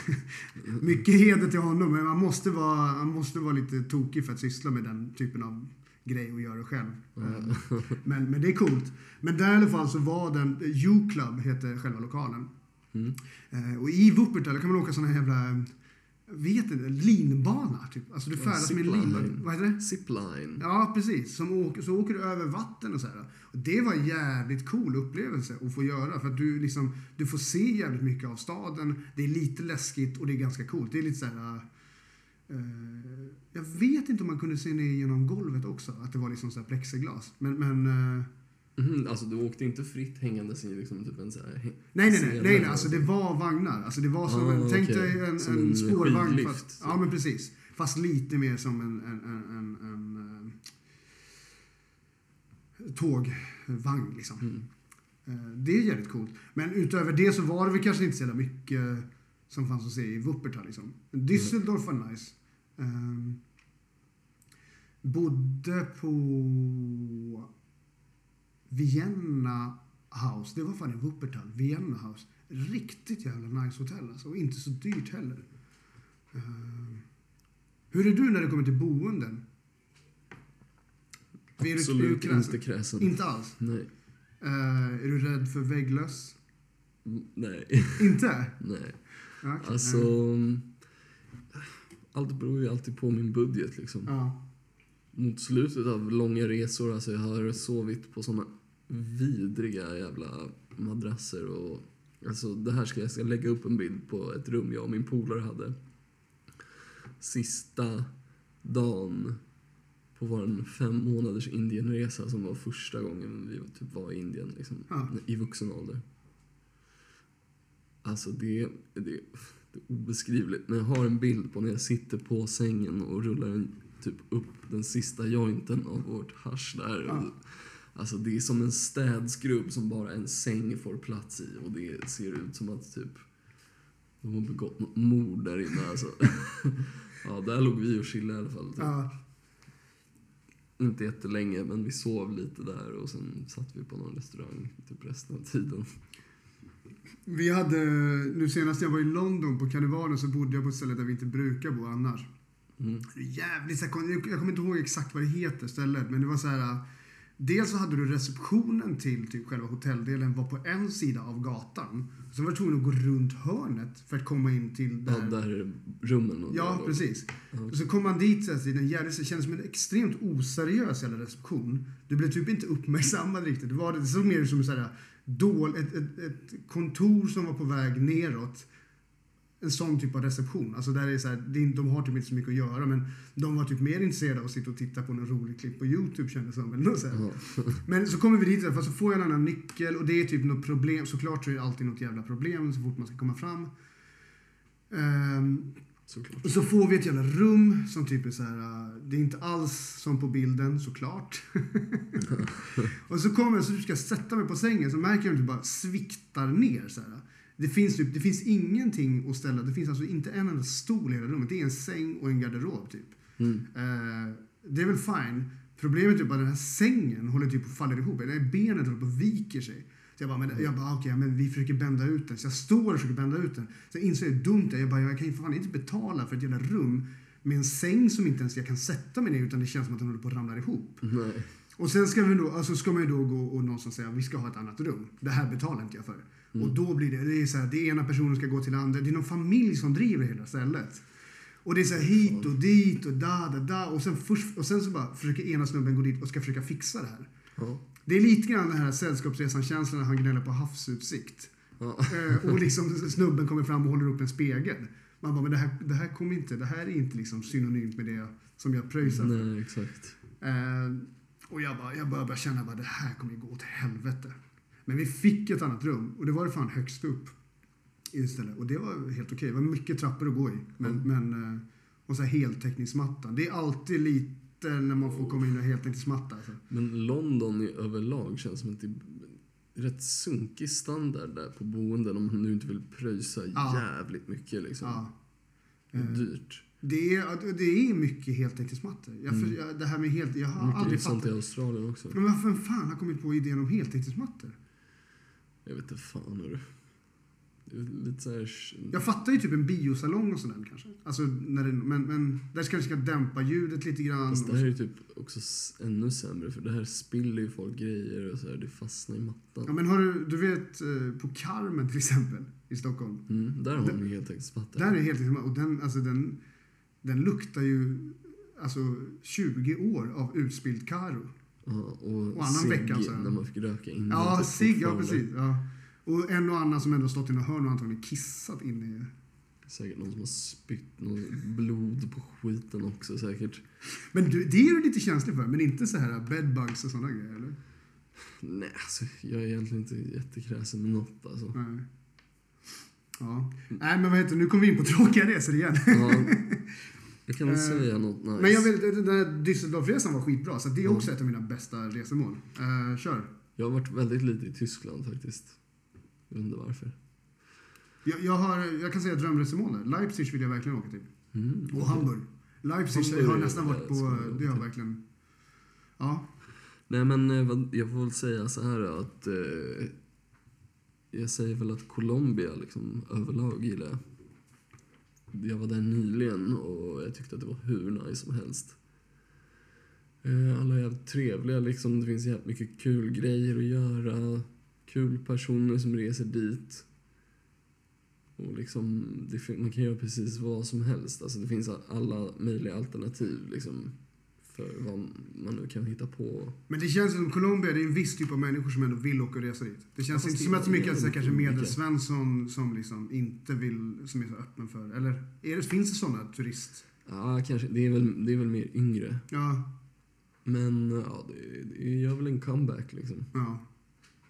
A: mycket heder till honom, men man måste, vara, man måste vara lite tokig för att syssla med den typen av grej och göra det själv. Eh, Men, men det är coolt. Men där i alla fall så var den, U-Club heter själva lokalen. Eh, och i Wuppertal kan man åka såna här jävla, jag vet inte, linbana typ. Alltså du
B: Ja,
A: färdas med en lin.
B: zipline.
A: Vad heter det?
B: Zipline.
A: Ja, precis. Som åker, så åker du över vatten och så här. Och det var en jävligt cool upplevelse att få göra. För att du, liksom, du får se jävligt mycket av staden. Det är lite läskigt och det är ganska coolt. Det är lite så här... eh, jag vet inte om man kunde se ner genom golvet också. Att det var liksom så här plexiglas. Men, men eh,
B: Mhm, alltså du åkte inte fritt hängandes i liksom typ en så här... häng-
A: Nej, nej, nej,
B: scen
A: nej, nej.
B: eller
A: Alltså det
B: någonting.
A: var vagnar. Alltså det var som
B: Ah,
A: en, tänk
B: okej.
A: dig en,
B: Som
A: en
B: en
A: spårvagn.
B: skidlift,
A: Fast,
B: så.
A: ja, men precis. Fast lite mer som en, en, en, en, en, eh, tågvagn liksom.
B: Mm.
A: Eh, Det är jävligt coolt. Men utöver det så var det väl kanske inte så jävla mycket eh, som fanns att se i Wuppertal liksom. Düsseldorf var nice. Ehm, bodde på Vienna House. Det var fan i Wuppertal. Vienna House. Riktigt jävla nice hotell alltså. Och inte så dyrt heller. Ehm, hur är du när det kommer till boenden? Är du- är du
B: Absolut
A: kräsen?
B: inte kräsen.
A: Inte alls?
B: Nej.
A: Eh, är du rädd för vägglöss?
B: Mm, Nej.
A: Inte?
B: nej.
A: Ja, okej.
B: Alltså... Allt beror ju alltid på min budget liksom.
A: Ja.
B: Mot slutet av långa resor, alltså jag har sovit på såna vidriga jävla madrasser och... Alltså det här ska jag, ska lägga upp en bild på ett rum jag och min polare hade. Sista dagen på vår fem månaders Indienresa som var första gången vi typ var i Indien liksom,
A: Ja.
B: i vuxen ålder. Alltså det, det, det är obeskrivligt. Men jag har en bild på när jag sitter på sängen och rullar en, typ upp den sista jointen av vårt hasch där.
A: Ja.
B: Alltså det är som en städskrubb som bara en säng får plats i och det ser ut som att typ de har begått något mord där inne alltså. ja, där låg vi och chillade i alla fall. Typ.
A: Ja.
B: Inte jättelänge, men vi sov lite där och sen satt vi på någon restaurang typ resten av tiden.
A: Vi hade, nu senast jag var i London på karnevalen så bodde jag på ett ställe där vi inte brukar bo annars.
B: Mm.
A: Jävligt så här kon- jag kommer inte ihåg exakt vad det heter stället, men det var så här. Dels så hade du receptionen till typ själva hotelldelen var på en sida av gatan. Sen var du tvungen att gå runt hörnet för att komma in till
B: Ja, där är rummen och
A: Ja,
B: det då.
A: precis.
B: Ja.
A: Så kom man dit så här, till en jävligt, det kändes som en extremt oseriös jävla reception. Du blev typ inte uppmärksammad riktigt. Det, var, det såg mer ut som så här, dål, ett, ett, ett kontor som var på väg neråt. En sån typ av reception. Alltså där är så här, det är, inte- de har typ inte så mycket att göra men de var typ mer intresserade av att sitta och titta på någon rolig klipp på Youtube kändes det som. Eller något så här.
B: Ja.
A: Men så kommer vi dit i alla fall, så får jag en annan nyckel och det är typ något problem. Såklart så är det alltid något jävla problem så fort man ska komma fram. Ehm,
B: Såklart.
A: och så får vi ett jävla rum som typ är så här. äh, Det är inte alls som på bilden såklart. och så kommer jag så ska jag sätta mig på sängen så märker jag att det bara sviktar ner så här. Det finns, typ, det finns ingenting att ställa. Det finns alltså inte en enda stol i hela rummet. Det är en säng och en garderob typ.
B: Mm.
A: Eh, det är väl fine. Problemet är typ att den här sängen håller typ på att falla ihop. Eller benet håller på att viker sig. Så jag bara, men, jag bara okej, men vi försöker bända ut den. Så jag står och försöker bända ut den. Så jag inser hur dumt det är. Jag bara, jag kan ju för fan inte betala för ett jävla rum med en säng som inte ens jag kan sätta mig ner utan det känns som att den håller på att ramla ihop.
B: Nej.
A: Och sen ska, vi då, alltså ska man ju då gå och någonstans säga vi ska ha ett annat rum. Det här betalar inte jag för.
B: Mm.
A: Och då blir det, det är så här, det är ena personen ska gå till andra. Det är någon familj som driver hela stället. Och det är så här hit och dit och da da da. Och sen, först, och sen så bara försöker ena snubben gå dit och ska försöka fixa det här.
B: Ja.
A: Det är lite grann den här sällskapsresan-känslan när han gnäller på havsutsikt.
B: Ja.
A: Eh, och liksom snubben kommer fram och håller upp en spegel. Man bara, men det här, det här kommer inte, det här är inte liksom synonymt med det som jag pröjsar för.
B: Nej, exakt.
A: Eh, och jag bara, jag började känna att det här kommer ju gå åt helvete. Men vi fick ett annat rum och det var det fan högst upp istället. Och det var helt okej. Det var mycket trappor att gå i. Men, men, eh, och så här heltäckningsmattan. Det är alltid lite när man får komma in i en heltäckningsmatta. Alltså.
B: Men London i överlag känns som att det är rätt sunkig standard där på boenden om man nu inte vill pröjsa
A: Ja.
B: jävligt mycket liksom.
A: Ja. Mm.
B: Det är dyrt.
A: Det, är, det är mycket heltäckningsmattor. Jag, för, jag, det här med helt, jag har
B: Mycket
A: aldrig
B: sånt i
A: fattat.
B: Australien också.
A: Men varför fan har kommit på idén om heltäckningsmattor?
B: Jag vet inte fan hörru. Det är Lite så här...
A: Jag fattar ju typ en biosalong och sådär kanske. Alltså, när det, men, men där ska det ska dämpa ljudet lite grann.
B: Fast det här är ju typ också s- ännu sämre för det här spiller ju folk grejer och så här, det fastnar i
A: Ja,
B: mattan.
A: men har du, du vet eh, på Carmen till exempel i Stockholm.
B: Mm, där har man ju helt enkelt spattat.
A: Där är det helt liksom, och den, alltså den, den luktar ju alltså 20 år av utspilld
B: Mm,
A: Karo.
B: Ja, och,
A: Och annan
B: cigg
A: vecka sen.
B: när man fick röka innan.
A: Ja,
B: typ
A: cigg, ja
B: fortfarande.
A: precis. Ja. Och en och annan som ändå stått i något hörn och antagligen kissat inne i...
B: Säkert någon som har spytt något blod på skiten också säkert.
A: Men du, det är du lite känslig för, men inte så här bedbugs och sådana grejer, eller?
B: Nej, alltså jag är egentligen inte jättekräsen med något alltså.
A: Nej. Ja.
B: Mm.
A: Nej, men vad heter det? Nu kommer vi in på tråkiga resor igen.
B: Ja, jag kan
A: Eh,
B: inte säga något nice.
A: Men jag vill, den där Düsseldorfresan var skitbra, så det är också ett av mina bästa resemål. Eh, kör.
B: Jag har varit väldigt lite i Tyskland faktiskt. Jag vet inte varför.
A: Jag, jag, har, jag kan säga drömresemål där. Leipzig vill jag verkligen åka till.
B: Mm.
A: Och Hamburg. Leipzig
B: Hamburg
A: har
B: är
A: nästan
B: det
A: varit på...
B: som jag
A: Det har jag
B: åkte.
A: verkligen... Ja.
B: Nej men eh, vad- jag får väl säga så här då, att eh, jag säger väl att Colombia liksom överlag gillar jag. Jag var där nyligen och jag tyckte att det var hur nice som helst. Eh, Alla är jävligt trevliga liksom, det finns jävligt mycket kul grejer att göra. Kul personer som reser dit. Och liksom, det, fin- man kan göra precis vad som helst. Alltså det finns a- alla möjliga alternativ liksom. För vad man nu kan hitta på.
A: Men det känns som Colombia, det är en viss typ av människor som ändå vill åka och resa dit. Det känns
B: fast
A: inte
B: det
A: som
B: är
A: att så mycket
B: väldigt
A: så här, kanske
B: olika.
A: medelsvensson som liksom inte vill, som är så öppen för. Eller är det, finns det sådana turist...
B: Ja, kanske. Det är väl, det är väl mer yngre.
A: Ja,
B: Men ja, det, det gör väl en comeback liksom.
A: ja.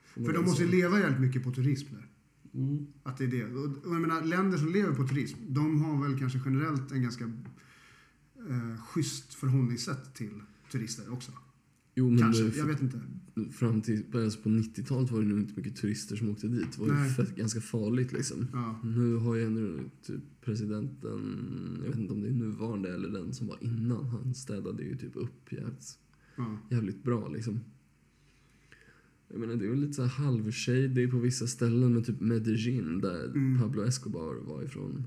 B: Får man
A: För de
B: väl
A: måste ju
B: säga.
A: leva jävligt mycket på turism där.
B: Mm.
A: Att det är det. Och, och jag menar, länder som lever på turism, de har väl kanske generellt en ganska eh, schysst förhållningssätt till turister också.
B: Jo, men eh,
A: kanske,
B: det-
A: jag vet inte.
B: fram till alltså på 90-talet var det nog inte mycket turister som åkte dit. Det var
A: Nej.
B: ju fett, ganska farligt liksom.
A: Ja.
B: Nu har ju ändå typ presidenten, jag vet inte om det är nuvarande eller den som var innan, han städade ju typ upp jävligt,
A: Ja.
B: jävligt bra liksom. Jag menar det är väl lite så här halvshady på vissa ställen men typ Medellin där
A: Mm.
B: Pablo Escobar var ifrån.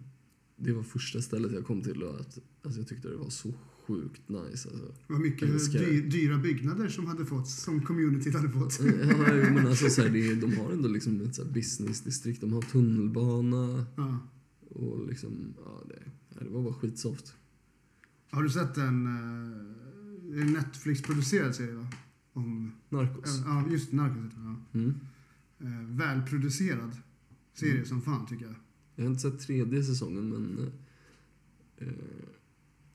B: Det var första stället jag kom till och att, alltså jag tyckte det var så sjukt nice alltså.
A: Det var mycket
B: Älskar det.
A: dy, dyra byggnader som hade fått, som communityt hade fått.
B: Ja, jo, men alltså så här, det, är- de har ändå liksom ett så här businessdistrikt, de har tunnelbana
A: Ja.
B: och liksom, ja det, ja, det var bara skitsoft.
A: Har du sett en, eh, en Netflix-producerad serie va? Om,
B: Narcos.
A: ja, just Narcos heter den, ja.
B: Mm.
A: Eh, Välproducerad serie
B: Mm.
A: som fan tycker jag.
B: Jag har inte sett tredje säsongen, men eh,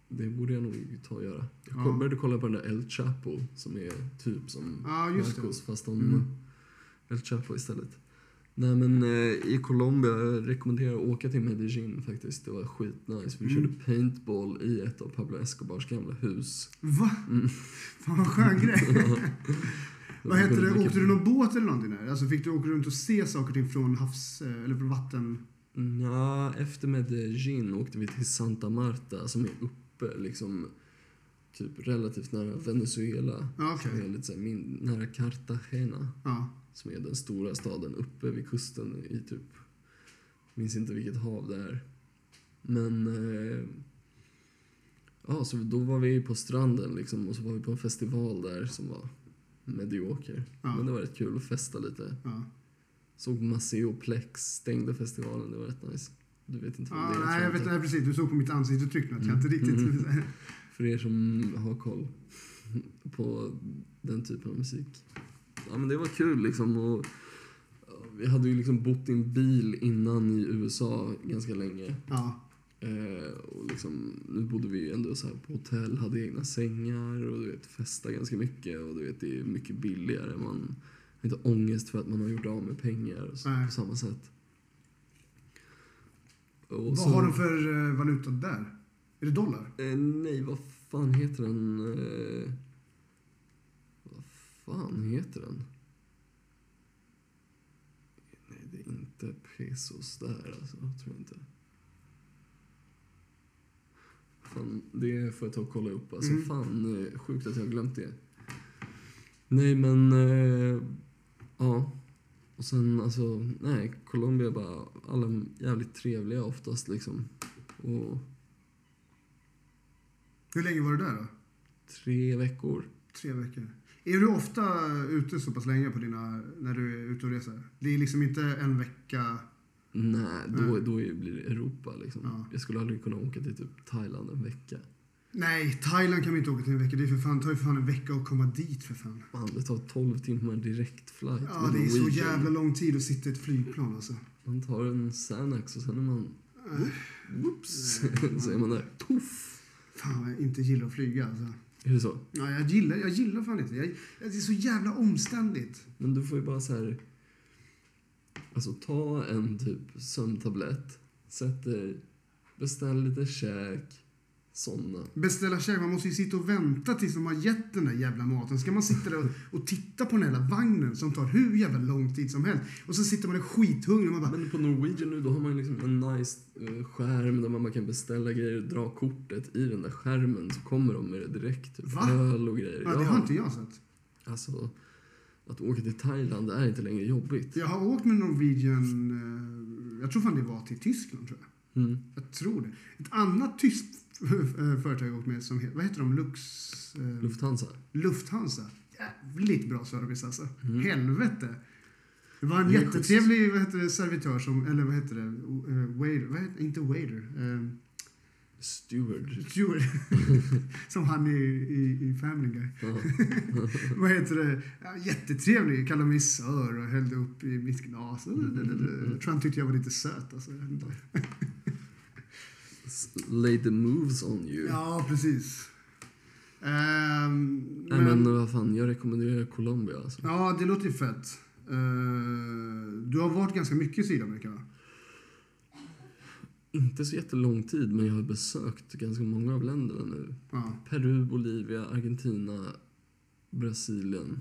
B: det borde jag nog ta och göra. Jag
A: Ja.
B: ja. började kolla på den där El Chapo som är typ som
A: Ja, just det.
B: Narcos fast om
A: Mm.
B: El Chapo istället. Nej men eh, i Colombia, jag rekommenderar att åka till Medellin faktiskt. Det var skitnice. Vi
A: Mm.
B: körde paintball i ett av Pablo Escobars gamla hus.
A: Va?
B: Mm.
A: Fan vad skön grej. Vad heter det?
B: Vilken-
A: Åkte du någon båt eller någonting där? Alltså fick du åka runt och se saker och ting från havs eh, eller från vatten?
B: Nja, efter Medellin åkte vi till Santa Marta som är uppe liksom typ relativt nära Venezuela.
A: Ja, okej.
B: Som är lite så här, min, nära Cartagena
A: Ja.
B: som är den stora staden uppe vid kusten i typ, minns inte vilket hav det är. Men, eh, ja så då var vi på stranden liksom och så var vi på en festival där som var medioker.
A: Ja.
B: Men det var rätt kul att festa lite.
A: ja.
B: Såg Maceo Plex stängde festivalen, det var rätt nice. Du vet inte vad
A: ja
B: det är? Mm.
A: nej, jag
B: tror
A: vet,
B: inte.
A: nej, precis. Du såg på mitt ansiktsuttryck nu att jag inte riktigt...
B: För er som har koll på den typen av musik. Ja, men det var kul liksom. Och ja, vi hade ju liksom bott i en bil innan i USA ganska länge.
A: Ja.
B: Eh, och liksom, nu bodde vi ju ändå så här på hotell, hade egna sängar och du vet, festade ganska mycket. Och du vet, det är mycket billigare. Man har inte ångest för att man har gjort av med pengar och så,
A: Nej.
B: på samma sätt. Och
A: Vad
B: så-
A: har de för eh, valuta där? Är det dollar?
B: Eh, nej, vad fan heter den? Eh, vad fan heter den? Nej, det är inte pesos där alltså. Jag tror inte. Fan, det får jag ta och kolla upp. Alltså,
A: Mm.
B: Fan, eh, sjukt att jag har glömt det. Nej, men... Eh, ja. Och sen alltså, nej, Colombia är bara, alla är jävligt trevliga oftast liksom. Och
A: Hur länge var du där då?
B: tre veckor.
A: Tre veckor. Är du ofta ute så pass länge på dina, när du är ute och reser? Det är liksom inte en vecka.
B: Nej, då,
A: Nej.
B: då är- blir det Europa liksom.
A: Mm. Ja.
B: Jag skulle aldrig kunna åka till typ Thailand en vecka.
A: Nej, Thailand kan vi inte åka till en vecka. Det är för fan, tar ju för fan en vecka att komma dit för fan.
B: Man, det tar 12 timmar direkt flight
A: Ja,
B: med
A: det är så
B: Norwegian.
A: jävla lång tid att sitta i ett flygplan alltså.
B: Man tar en Xanax och sen är man...
A: Äh.
B: Whoops! så är man där. Tuff!
A: Fan, jag inte gillar att flyga alltså.
B: Är det så?
A: Ja, jag gillar, jag gillar fan inte. Jag, jag, det är så jävla omständigt.
B: Men du får ju bara så här... Alltså ta en typ sömntablett, sätt dig, beställ lite käk, somna.
A: Beställa käk, man måste ju sitta och vänta tills de har gett den där jävla maten. Ska man sitta där och, och titta på den jävla vagnen som tar hur jävla lång tid som helst. Och så sitter man och är skithungrig och man bara...
B: Men på Norwegian nu, då har man ju liksom en nice eh, skärm där man bara kan beställa grejer och dra kortet i den där skärmen så kommer de med det direkt. Typ
A: Va?
B: öl och grejer.
A: Ja, det har inte jag sett.
B: Alltså, att åka till Thailand det är inte längre jobbigt.
A: Jag har åkt med Norwegian, eh, jag tror fan det var till Tyskland tror jag.
B: Mm.
A: Jag tror det. Ett annat tyskt eh, företag jag åkt med som heter, vad heter de? Lux... eh,
B: Lufthansa.
A: Lufthansa. Jävligt bra service alltså. Helvete. Det var en
B: Mm. Det är
A: jättetrevlig vad heter det, servitör som, eller vad heter det, Eh, waiter, vad heter, inte waiter, eh,
B: Steward.
A: steward. som han i, i, i Family Guy.
B: Ja.
A: Vad heter det? Ja, jättetrevlig, kallade mig sör och hällde upp i mitt glas. Jag tror han tyckte jag var lite söt alltså. Jag vet inte.
B: S- Lay the moves on you.
A: Ja, precis. Ehm,
B: Nej men eh, vad fan, jag rekommenderar Colombia alltså.
A: Ja, det låter ju fett. Eh, du har varit ganska mycket i Sydamerika, va?
B: Inte så jättelång tid, men jag har besökt ganska många av länderna nu.
A: Ja.
B: Peru, Bolivia, Argentina, Brasilien.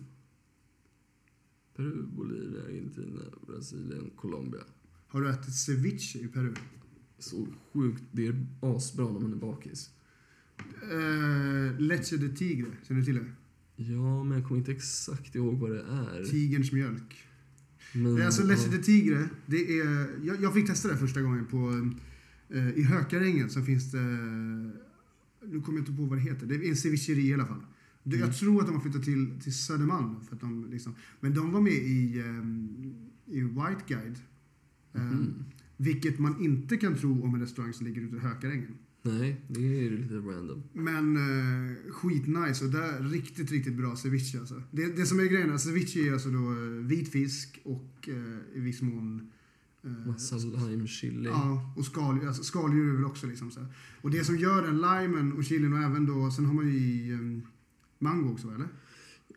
B: Peru, Bolivia, Argentina, Brasilien, Colombia.
A: Har du ätit ceviche i Peru?
B: Så sjukt, det är asbra när man är bakis.
A: Uh, leche de tigre, känner du till det?
B: Ja, men jag kommer inte exakt ihåg vad det är.
A: Tigerns mjölk.
B: Men,
A: Mm, alltså leche
B: ja.
A: de tigre, det är... Jag, jag fick testa det första gången på... eh, I Hökarängen så finns det... Nu kommer jag inte på vad det heter. Det är en cevicheria i alla fall. Det- Jag tror att de har flyttat till, till Södermalm. För att de liksom, men de var med i, eh, i White Guide. Eh,
B: Mhm.
A: Vilket man inte kan tro om en restaurang som ligger ute i Hökarängen.
B: Nej, det är ju lite random.
A: Men eh, skitnice och där riktigt, riktigt bra ceviche alltså. Det, det som är grejen är att ceviche är alltså då eh, vit fisk och eh, i viss mån... eh,
B: Massa lime chili.
A: Ja, och skaldjur. Alltså, skaldjur är väl också liksom så här. Och det som gör den limen och chilin och även då, sen har man ju i eh, mango också va, eller?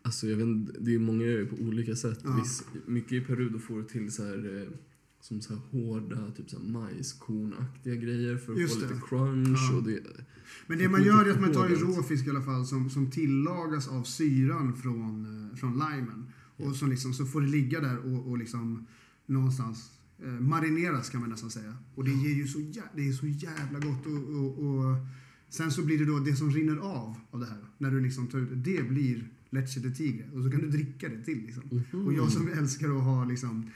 B: Alltså jag vet inte, det är många gör ju på olika sätt.
A: Ja.
B: Viss, mycket i Peru då får du till så här, eh, som så här hårda, typ så här majskornaktiga grejer för att
A: Just
B: få
A: det.
B: lite crunch.
A: Ja.
B: Och det,
A: Men det
B: Jag
A: man
B: kommer
A: gör
B: inte
A: är att man tar ju
B: ihåg allt.
A: rå fisk i alla fall som, som tillagas av syran från, eh, från limen.
B: Ja.
A: Och som liksom, så får det ligga där och, och liksom någonstans eh, marineras kan man nästan säga. Och det ger ju så, jä det är så jävla gott. Och, och, och sen så blir det då det som rinner av av det här. När du liksom tar ut det, det blir leche de tigre. Och så kan du dricka det till liksom.
B: Mhm.
A: Och jag som älskar att ha liksom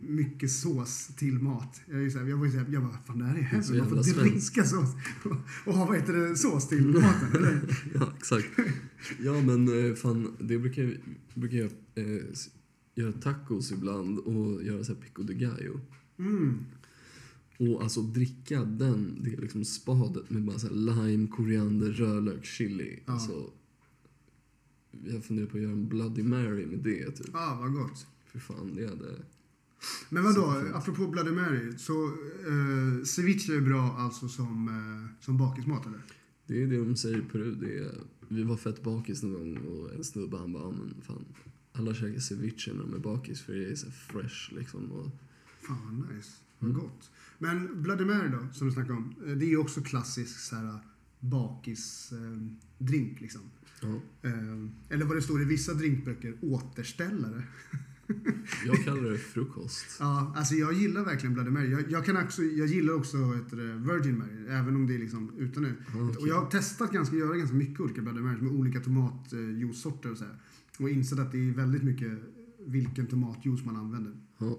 A: mycket sås till mat. Jag, är ju så här, jag var ju såhär, jag bara, fan det här är
B: så
A: hemskt. Man
B: jävla
A: får
B: svensk.
A: dricka sås. Och ha, vad heter det, sås till maten? eller?
B: ja, exakt. Ja men eh, fan, det brukar, jag- brukar jag eh, s- göra tacos ibland och göra så här pico de gallo.
A: Mm.
B: Och alltså dricka den, det är liksom spadet med bara så här lime, koriander, rödlök, chili.
A: Ja.
B: Alltså, jag funderar på att göra en Bloody Mary med det typ.
A: Ja, Ah, vad gott.
B: För fan, det hade...
A: Men vadå,
B: Superfint.
A: apropå Bloody Mary. Så eh, ceviche är bra alltså som, eh, som bakismat eller?
B: Det är det de säger i Peru. Det är, vi var fett bakis någon gång och en snubbe han bara, "Ja, men fan. Alla käkar ceviche när de är bakis för det är så här fresh liksom. Och,
A: Fan vad nice. Mm. Vad gott. Men Bloody Mary då, som du snackade om. eh, Det är ju också klassisk så här bakisdrink eh, drink, liksom.
B: ja,
A: Eh, eller vad det står i vissa drinkböcker, återställare.
B: jag kallar det frukost.
A: Ja, alltså jag gillar verkligen Bloody Mary. Jag, jag, kan också, jag gillar också vad heter det, Virgin Mary, även om det är liksom utan det.
B: Ja, okej.
A: Och jag har testat ganska, göra ganska mycket olika Bloody Marys med olika tomatjuicesorter och så här. Och insett att det är väldigt mycket vilken tomatjuice man använder.
B: Ja.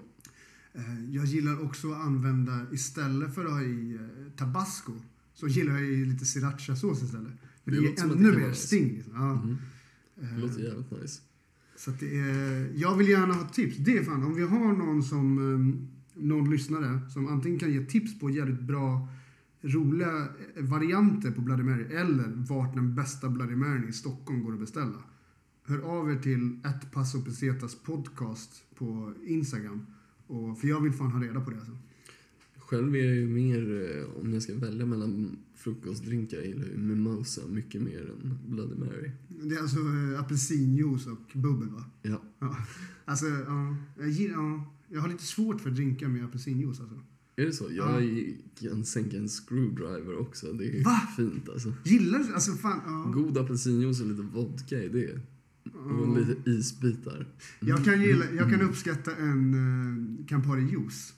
A: Eh, Jag gillar också att använda, istället för att ha i eh, tabasco, så gillar jag i lite srirachasås istället. För
B: Det
A: det,
B: låter
A: ger
B: som att det
A: ännu
B: kan
A: mer
B: vara nice. Mhm.
A: sting. Liksom. Ja.
B: Det låter jävligt nice.
A: Så att det är, jag vill gärna ha tips. Det är fan, om vi har någon som eh, någon lyssnare som antingen kan ge tips på jävligt bra roliga eh, varianter på Bloody Mary eller vart den bästa Bloody Mary i Stockholm går att beställa. Hör av er till ett Paso Pesetas podcast på Instagram. Och, för jag vill fan ha reda på det. Alltså.
B: Själv är jag ju mer, eh, om jag ska välja mellan frukostdrinkar, jag gillar ju mimosa mycket mer än Bloody Mary.
A: Det är alltså eh, apelsinjuice och bubbel va?
B: Ja,
A: Ja. Alltså, ja, jag, gillar, ja, jag har lite svårt för drinkar med apelsinjuice alltså.
B: är det så?
A: Ja.
B: Jag kan sänka en screwdriver också, det är ju
A: Va?
B: fint alltså.
A: Gillar du? Alltså fan, ja.
B: God apelsinjuice och lite vodka i det. Och lite isbitar.
A: Jag
B: Mm.
A: kan, gilla, jag kan uppskatta en eh, Campari juice.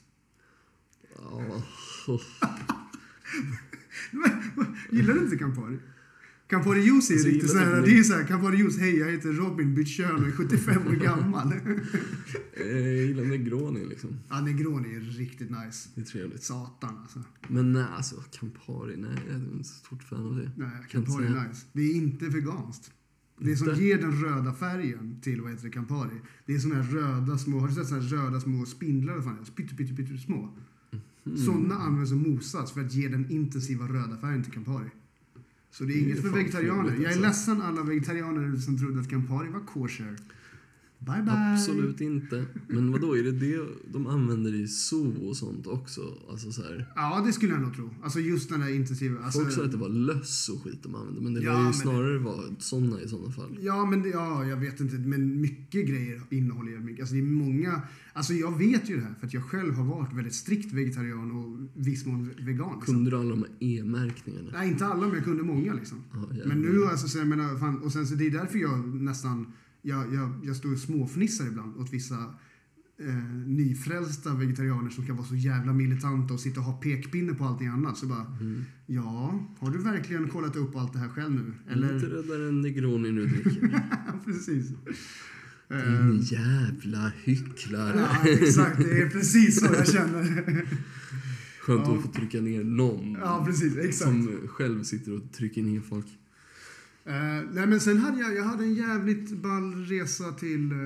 B: Ja, oh.
A: Gillar du inte Campari? Campari juice är ju
B: Alltså,
A: riktigt
B: gillar
A: såhär,
B: det.
A: det är ju såhär, Campari juice, hej jag heter Robin, bytt kön och är 75 år gammal.
B: eh, jag gillar Negroni liksom.
A: ja, Negroni är riktigt nice.
B: Det är trevligt.
A: Satan alltså.
B: Men nej, alltså Campari, nej, jag är inte så stort fan av det.
A: Nej,
B: Kan inte
A: Campari
B: säga.
A: är nice. Det är inte veganskt. Det som
B: Inte?
A: ger den röda färgen till vad heter det, Campari, det är såna här röda små, har du sett såna här röda små spindlar? eller vad fan det är? Pytte, pytte, pytte små.
B: Mhm.
A: Såna används och mosas för att ge den intensiva röda färgen till Campari. Så det är
B: Det är
A: inget för
B: fan
A: vegetarianer.
B: trevligt,
A: Jag är
B: alltså.
A: ledsen alla vegetarianer som trodde att Campari var kosher. Bye bye!
B: Absolut
A: Mm.
B: inte. Men vad då är det det de använder i zoo och sånt också? Alltså så här.
A: Ja, det skulle jag nog tro. Alltså just den där intensiva... Alltså,
B: Folk sa att det var löss och skit de använde, men det
A: Ja,
B: lär ju
A: men- Alltså-
B: snarare vara såna i såna fall.
A: Ja, men det- ja, jag vet inte. Men mycket grejer innehåller jävligt mycket. Alltså det är många. Alltså jag vet ju det här för att jag själv har varit väldigt strikt vegetarian och viss mån vegan. Liksom.
B: Kunde du alla de här e-märkningarna?
A: Nej, inte alla, men jag kunde många liksom.
B: Ja, jävlar.
A: Men nu alltså, så jag menar, fan, och sen så det är därför jag nästan, jag, jag, jag står och småfnissar ibland åt vissa eh, nyfrälsta vegetarianer som kan vara så jävla militanta och sitta och ha pekpinne på allting annat. Så bara,
B: Mm.
A: ja, har du verkligen kollat upp allt det här själv nu?
B: Eller... Lite
A: Eller?
B: räddare än Negroni nu dricker.
A: Precis. Eh,
B: Din jävla hycklare.
A: Ja, exakt. Det är precis så jag känner.
B: Skönt att få trycka ner någon
A: Ja, precis. Exakt.
B: som själv sitter och trycker ner folk.
A: Eh, nej, men sen hade jag, jag hade en jävligt ball resa till, eh,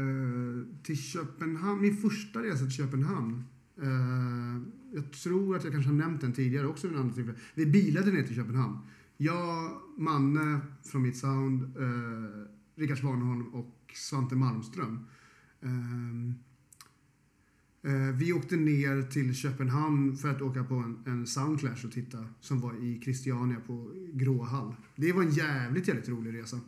A: till Köpenhamn. Min första resa till Köpenhamn. Eh, jag tror att jag kanske har nämnt den tidigare också vid en annan tillfälle. Vi bilade ner till Köpenhamn. Jag, Manne från mitt sound, eh, Rickard Svanholm och Svante Malmström. Ehm, Eh, vi åkte ner till Köpenhamn för att åka på en, en soundclash och titta som var i Christiania på Gråhall. Det var en jävligt, jävligt rolig resa.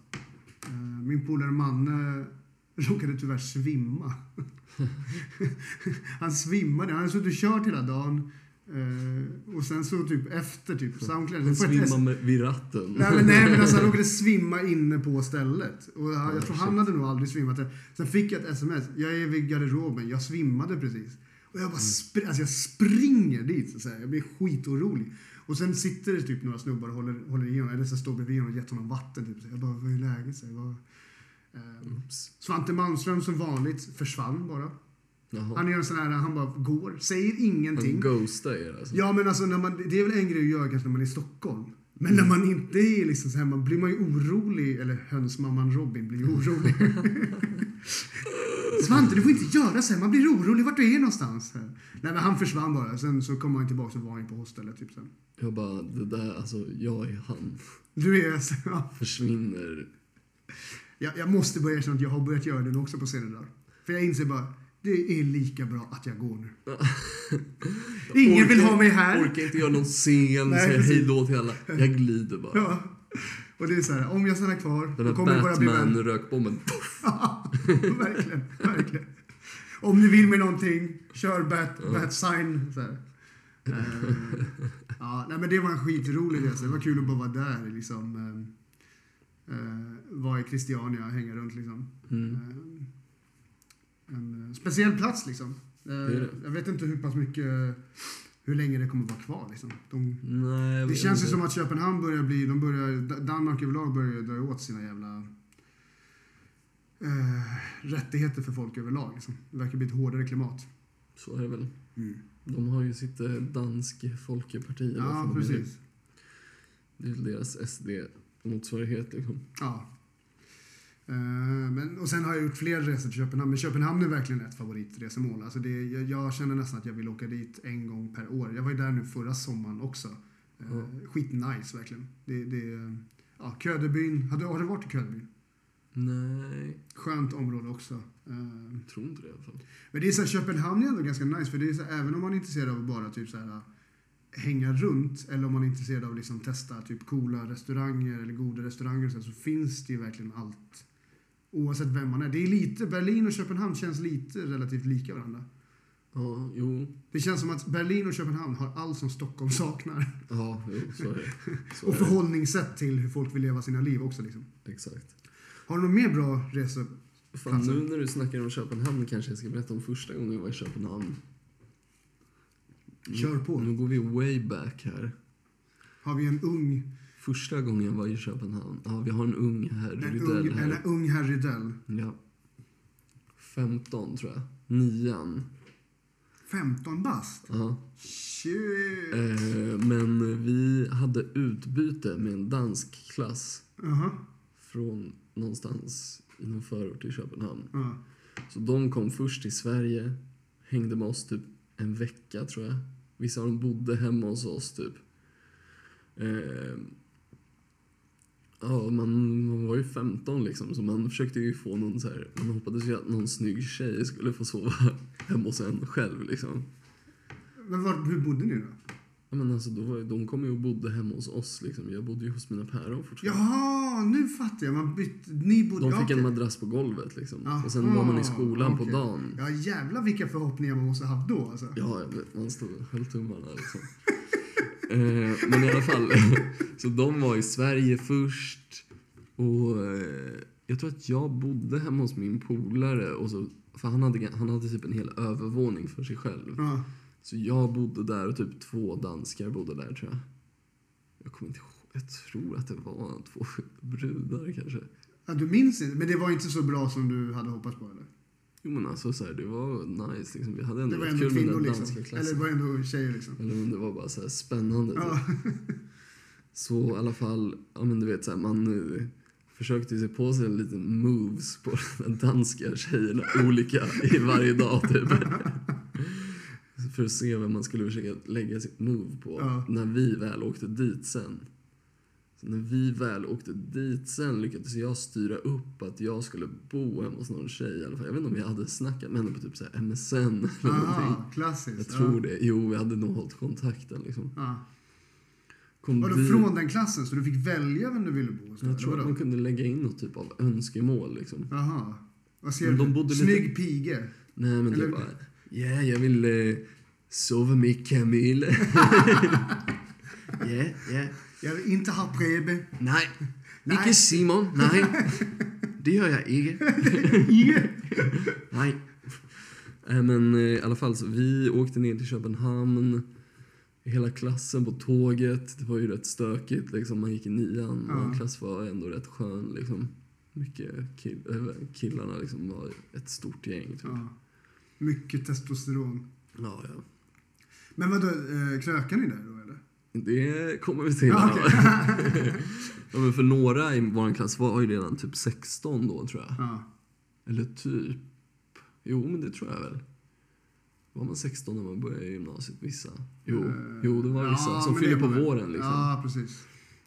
A: Eh, min polare Manne råkade tyvärr svimma. han svimmade. Han hade suttit och kört hela dagen. Eh, och sen så typ efter typ soundclash.
B: Han
A: För att-
B: svimmar med, vid ratten.
A: Nej men, nej, men alltså, han råkade svimma inne på stället. Och jag, jag tror han hade nog aldrig svimmat. där. Sen fick jag ett sms. Jag är vid garderoben. Jag svimmade precis. Och jag bara spr- alltså, jag springer dit. Så här. Jag blir skitorolig. Och sen sitter det typ några snubbar och håller, håller i honom. Eller så står bredvid honom och gett honom vatten. Typ. Så jag bara, vad är läget? Så här, vad... Ehm,
B: Oops.
A: Svante Malmström som vanligt försvann bara.
B: Jaha.
A: Han gör en sån här, han bara går, säger ingenting.
B: Han ghostar er alltså.
A: Ja, men alltså, när man, det är väl en grej att göra kanske när man är i Stockholm. Men
B: Mm.
A: när man inte är liksom så här, man blir man ju orolig. Eller hönsmamman Robin blir ju orolig. Svante, du får inte göra så här. Man blir orolig vart du är någonstans. Här. Nej, men han försvann bara. Sen så kom han tillbaka och var han på hostellet. Typ sen.
B: Jag bara, det där, alltså jag är han.
A: Du är så, ja.
B: Försvinner.
A: jag, jag måste börja erkänna att jag har börjat göra det nu också på senare dagar. För jag inser bara, det är lika bra att jag går nu. Ingen vill ha mig här.
B: Orkar inte göra någon scen,
A: Äh? Nej,
B: säga
A: precis.
B: hej då till alla. Jag glider bara.
A: Ja. Och det är så här, om jag stannar kvar,
B: Den
A: då
B: där
A: kommer jag bara bli vän.
B: Batman-rökbomben.
A: Ja, verkligen, verkligen. Om ni vill med någonting, kör bat, bat sign. Så här. Eh, ja, nej, men det var en skitrolig resa. Det var kul att bara vara där. Liksom, eh, eh, vara i Christiania och hänga runt. Liksom.
B: Mm.
A: Eh, en eh, speciell plats liksom. Eh,
B: är det.
A: Jag vet inte hur pass mycket, hur länge det kommer vara kvar. Liksom. De,
B: Nej, jag
A: det
B: vet
A: känns ju
B: inte.
A: som att Köpenhamn börjar bli, de börjar, D- Danmark överlag börjar ju dra åt sina jävla eh, rättigheter för folk överlag. Liksom. Det verkar bli ett hårdare klimat.
B: Så är det väl.
A: Mm.
B: De har ju sitt eh, danske folkeparti. eller vad
A: Ja,
B: fan de heter.
A: precis.
B: Det är väl deras SD-motsvarighet liksom.
A: Ja. Eh, Men, och sen har jag gjort fler resor till Köpenhamn, men Köpenhamn är verkligen ett favoritresemål. Alltså det, jag, jag känner nästan att jag vill åka dit en gång per år. Jag var ju där nu förra sommaren också. Eh,
B: Ja.
A: Skitnice verkligen. Det, det, eh, ja, Ködebyn, har du, har du varit i Ködebyn?
B: Nej,
A: Skönt område också. Eh,
B: jag tror inte det i alla fall.
A: Men det är så här, Köpenhamn är ändå ganska nice för det är så här, även om man är intresserad av att bara typ så här, hänga runt eller om man är intresserad av att liksom testa typ coola restauranger eller goda restauranger och så, här, så finns det ju verkligen allt. Oavsett vem man är. Det är lite, Berlin och Köpenhamn känns lite relativt lika varandra.
B: Ja, jo.
A: Det känns som att Berlin och Köpenhamn har allt som Stockholm saknar.
B: Ja, jo, så är det. Så
A: Och
B: är det.
A: förhållningssätt till hur folk vill leva sina liv också. Liksom.
B: Exakt.
A: Har du någon mer bra resor? Alltså.
B: Fan, nu när du snackar om Köpenhamn kanske jag ska berätta om första gången jag var i Köpenhamn.
A: Kör på.
B: Nu går vi way back här.
A: Har vi en ung,
B: Första gången jag var i Köpenhamn. Ja, vi har en ung herr
A: en
B: Rydell
A: ung,
B: här.
A: en ung herr Rydell?
B: Ja. 15 tror jag. Nian.
A: 15 bast?
B: Ja.
A: Shit.
B: Eh, men vi hade utbyte med en dansk klass
A: Jaha.
B: från någonstans i någon förort i Köpenhamn.
A: Ja.
B: Så de kom först till Sverige, hängde med oss typ en vecka tror jag. Vissa av dem bodde hemma hos oss typ. Eh, ja, man, man var ju 15 liksom så man försökte ju få någon så här, man hoppades ju att någon snygg tjej skulle få sova hemma hos en själv liksom.
A: Men var, hur bodde ni då?
B: Ja, men alltså, då var, ju- de kom ju och bodde hemma hos oss liksom. Jag bodde ju hos mina päron fortfarande.
A: Jaha, nu fattar jag. Man bytte, ni bodde...
B: De
A: ja,
B: fick en
A: okej.
B: madrass på golvet liksom.
A: Jaha,
B: och sen var man i skolan på
A: okej.
B: dagen.
A: Ja, jävlar vilka förhoppningar man måste ha haft då alltså.
B: Ja, jag vet, man stod och höll tummarna liksom. eh, men i alla fall, så de var i Sverige först. Och eh, jag tror att jag bodde hemma hos min polare. Och så, för han hade, han hade typ en hel övervåning för sig själv.
A: Ja.
B: Så jag bodde där och typ två danskar bodde där tror jag. Jag kommer inte ihåg. Jag tror att det var två brudar kanske.
A: ja, du minns inte. Men det var inte så bra som du hade hoppats på eller?
B: Jo men alltså så här, det var nice liksom. Vi hade
A: Det
B: ändå
A: var
B: rätt
A: ändå
B: kul med
A: kvinnor
B: den
A: liksom.
B: danska
A: Eller
B: klassen.
A: det var ändå tjejer liksom.
B: Eller om det var bara så här spännande. typ.
A: Ja.
B: Så i alla fall, ja men du vet så här, man eh, försökte ju se på sig en liten moves på de där danska tjejerna, olika i varje dag typ. För att se vem man skulle försöka lägga sitt move på
A: Ja.
B: när vi väl åkte dit sen. Så när vi väl åkte dit sen lyckades jag styra upp att jag skulle bo hemma hos någon tjej i alla fall. Jag vet inte om jag hade snackat med henne på typ så här MSN
A: Ah.
B: eller någonting.
A: Aha,
B: Jag
A: klassiskt.
B: tror
A: ja.
B: det. Jo, vi hade nog hållit kontakten liksom.
A: Ja.
B: Kom
A: Var
B: dit-
A: du från den klassen så du fick välja vem du ville bo hos? då,
B: Jag
A: eller
B: tror att
A: vadå?
B: man kunde lägga in något typ av önskemål liksom.
A: Jaha. Vad ser
B: Men de
A: du?
B: bodde lite-
A: Snygg pige.
B: Nej men
A: Eller-
B: typ bara, yeah, jag vill eh, sova med Camille. yeah, yeah.
A: Jag vill inte ha Prebe.
B: Nej,
A: Nej.
B: inte Simon, nej. Det gör jag inte. nej. Nej men eh, i alla fall så vi åkte ner till Köpenhamn. Hela klassen på tåget. Det var ju rätt stökigt liksom. Man gick i nian.
A: Ja.
B: Vår klass var ändå rätt skön liksom. Mycket kill- äh, killarna liksom var ett stort gäng typ. Ja,
A: Ja. Mycket testosteron.
B: ja.
A: Men vadå, eh, krökar ni där då eller?
B: Det kommer vi till.
A: Ja,
B: Ja, ja, men för några i vår klass var ju redan typ 16 då tror jag.
A: Ja.
B: Eller typ. Jo, men det tror jag väl. Var man 16 när man började i gymnasiet? Vissa. Jo,
A: Eh,
B: jo det var vissa.
A: ja,
B: som
A: men det
B: fyller på
A: var det.
B: våren liksom.
A: Ja, precis.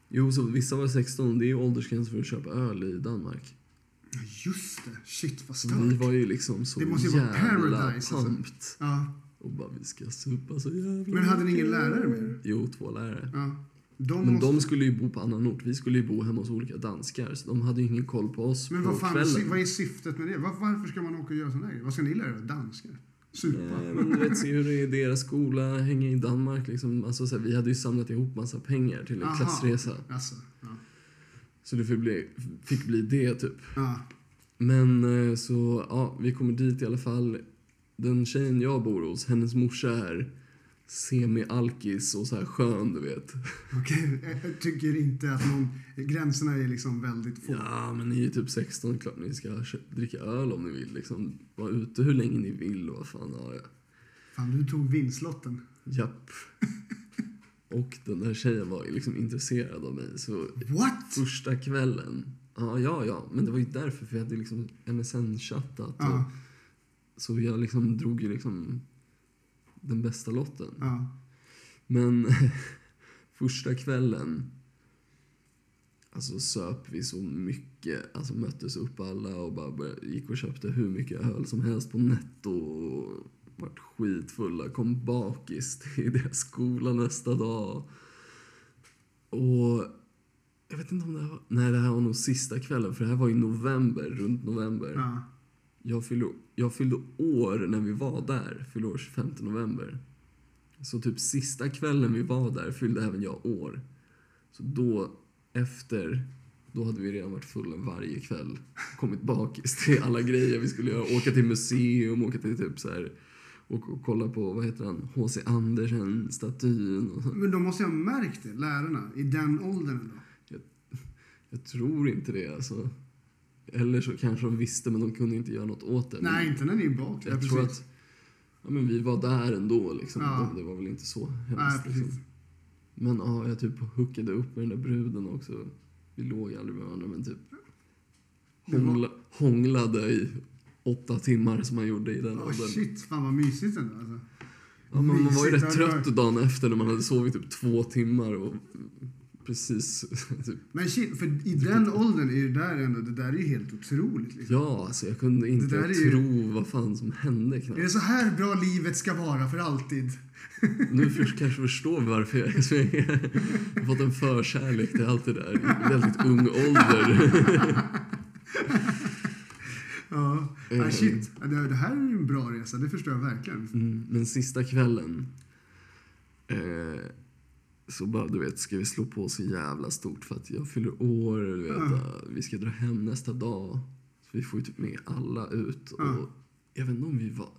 B: Jo, så vissa var 16. Det är ju åldersgräns för att köpa öl i Danmark.
A: Ja, Just det, shit vad
B: Så vi
A: stört.
B: var ju liksom så
A: Det måste ju vara
B: jävla
A: paradise, alltså.
B: pumped.
A: Ja.
B: Och bara vi ska supa så jävla
A: Men hade ni ingen
B: mycket.
A: lärare med er?
B: Jo, två lärare.
A: Ja. De
B: Men
A: måste...
B: de skulle ju bo på annan ort. Vi skulle ju bo hemma hos olika danskar. Så de hade ju ingen koll på oss
A: Men
B: på
A: vad fan,
B: kvällen.
A: vad är syftet med det? Var, varför ska man åka och göra sådana grejer? Vad ska ni lära er? Danska? Supa?
B: Nej, Eh, men du vet, se hur det är i deras skola, hänga i Danmark liksom. Alltså, så här, vi hade ju samlat ihop massa pengar till en
A: Aha.
B: klassresa.
A: Alltså, ja.
B: Så det fick bli, fick bli det typ.
A: ja.
B: Men eh, så, ja, vi kommer dit i alla fall. Den tjejen jag bor hos, hennes morsa är semi-alkis och så här skön, du vet.
A: Okej, jag- jag tycker inte att någon... Gränserna är liksom väldigt få.
B: Ja, men ni är ju typ 16, klart ni ska kö- dricka öl om ni vill. Liksom. Var ute hur länge ni vill och vad fan har jag.
A: Fan, du tog vinstlotten.
B: Japp. Och den där tjejen var ju liksom intresserad av mig. Så
A: What?
B: första kvällen, ja, ja, ja. Men det var ju därför, för jag hade liksom MSN-chattat. och-
A: Ja,
B: Så jag liksom drog ju liksom den bästa lotten.
A: ja.
B: Men första kvällen alltså söp vi så mycket, alltså möttes upp alla och bara började, gick och köpte hur mycket öl som helst på netto och vart skitfulla, kom bakis till deras skola nästa dag. Och jag vet inte om det här var, nej det här var nog sista kvällen för det här var i november, runt november.
A: ja.
B: Jag fyllde, jag fyllde år när vi var där, fyllde år 25 november. Så typ sista kvällen vi var där fyllde även jag år. Så då, efter, då hade vi redan varit fulla varje kväll. Kommit bakis till alla grejer vi skulle göra. Åka till museum, åka till typ så här och, och kolla på, vad heter han, H.C. Andersen-statyn och
A: Men då måste jag ha märkt det, lärarna, i den åldern
B: Mm.
A: ändå.
B: Jag tror inte det alltså. Eller så kanske de visste men de kunde inte göra något åt det.
A: Nej, inte när ni är bak.
B: Jag tror att ja, men vi var där ändå. Liksom.
A: Ja.
B: Det var väl inte så
A: Nej,
B: hemskt.
A: precis.
B: liksom. Men ja, jag typ hookade upp med den där bruden också. Vi låg aldrig med varandra, men typ
A: Det var-
B: hångla, hånglade i åtta timmar som man gjorde i den
A: Åh
B: åldern.
A: shit, fan vad mysigt ändå. Alltså.
B: Ja, men man var ju
A: Mysigt,
B: rätt
A: det hade
B: trött
A: varit.
B: dagen efter när man hade sovit typ två timmar och precis typ
A: Men shit, för i den åldern är ju där ändå, det där är ju helt otroligt. Liksom.
B: Ja, alltså jag kunde inte
A: där är ju-
B: tro vad fan som hände
A: Är
B: knappt.
A: det så här bra livet ska vara för alltid?
B: Nu först kanske förstår vi varför jag jag har fått en förkärlek till allt det där i väldigt ung ålder.
A: Ja,
B: Mm.
A: ah, shit. Ja, Det, det här är ju en bra resa, det förstår jag verkligen.
B: Mm, Men sista kvällen eh, så bara, du vet, ska vi slå på så jävla stort för att jag fyller år och du vet,
A: Ja.
B: eh, vi ska dra hem nästa dag. Så vi får ju typ med alla ut. Och
A: Ja.
B: jag vet inte om vi var...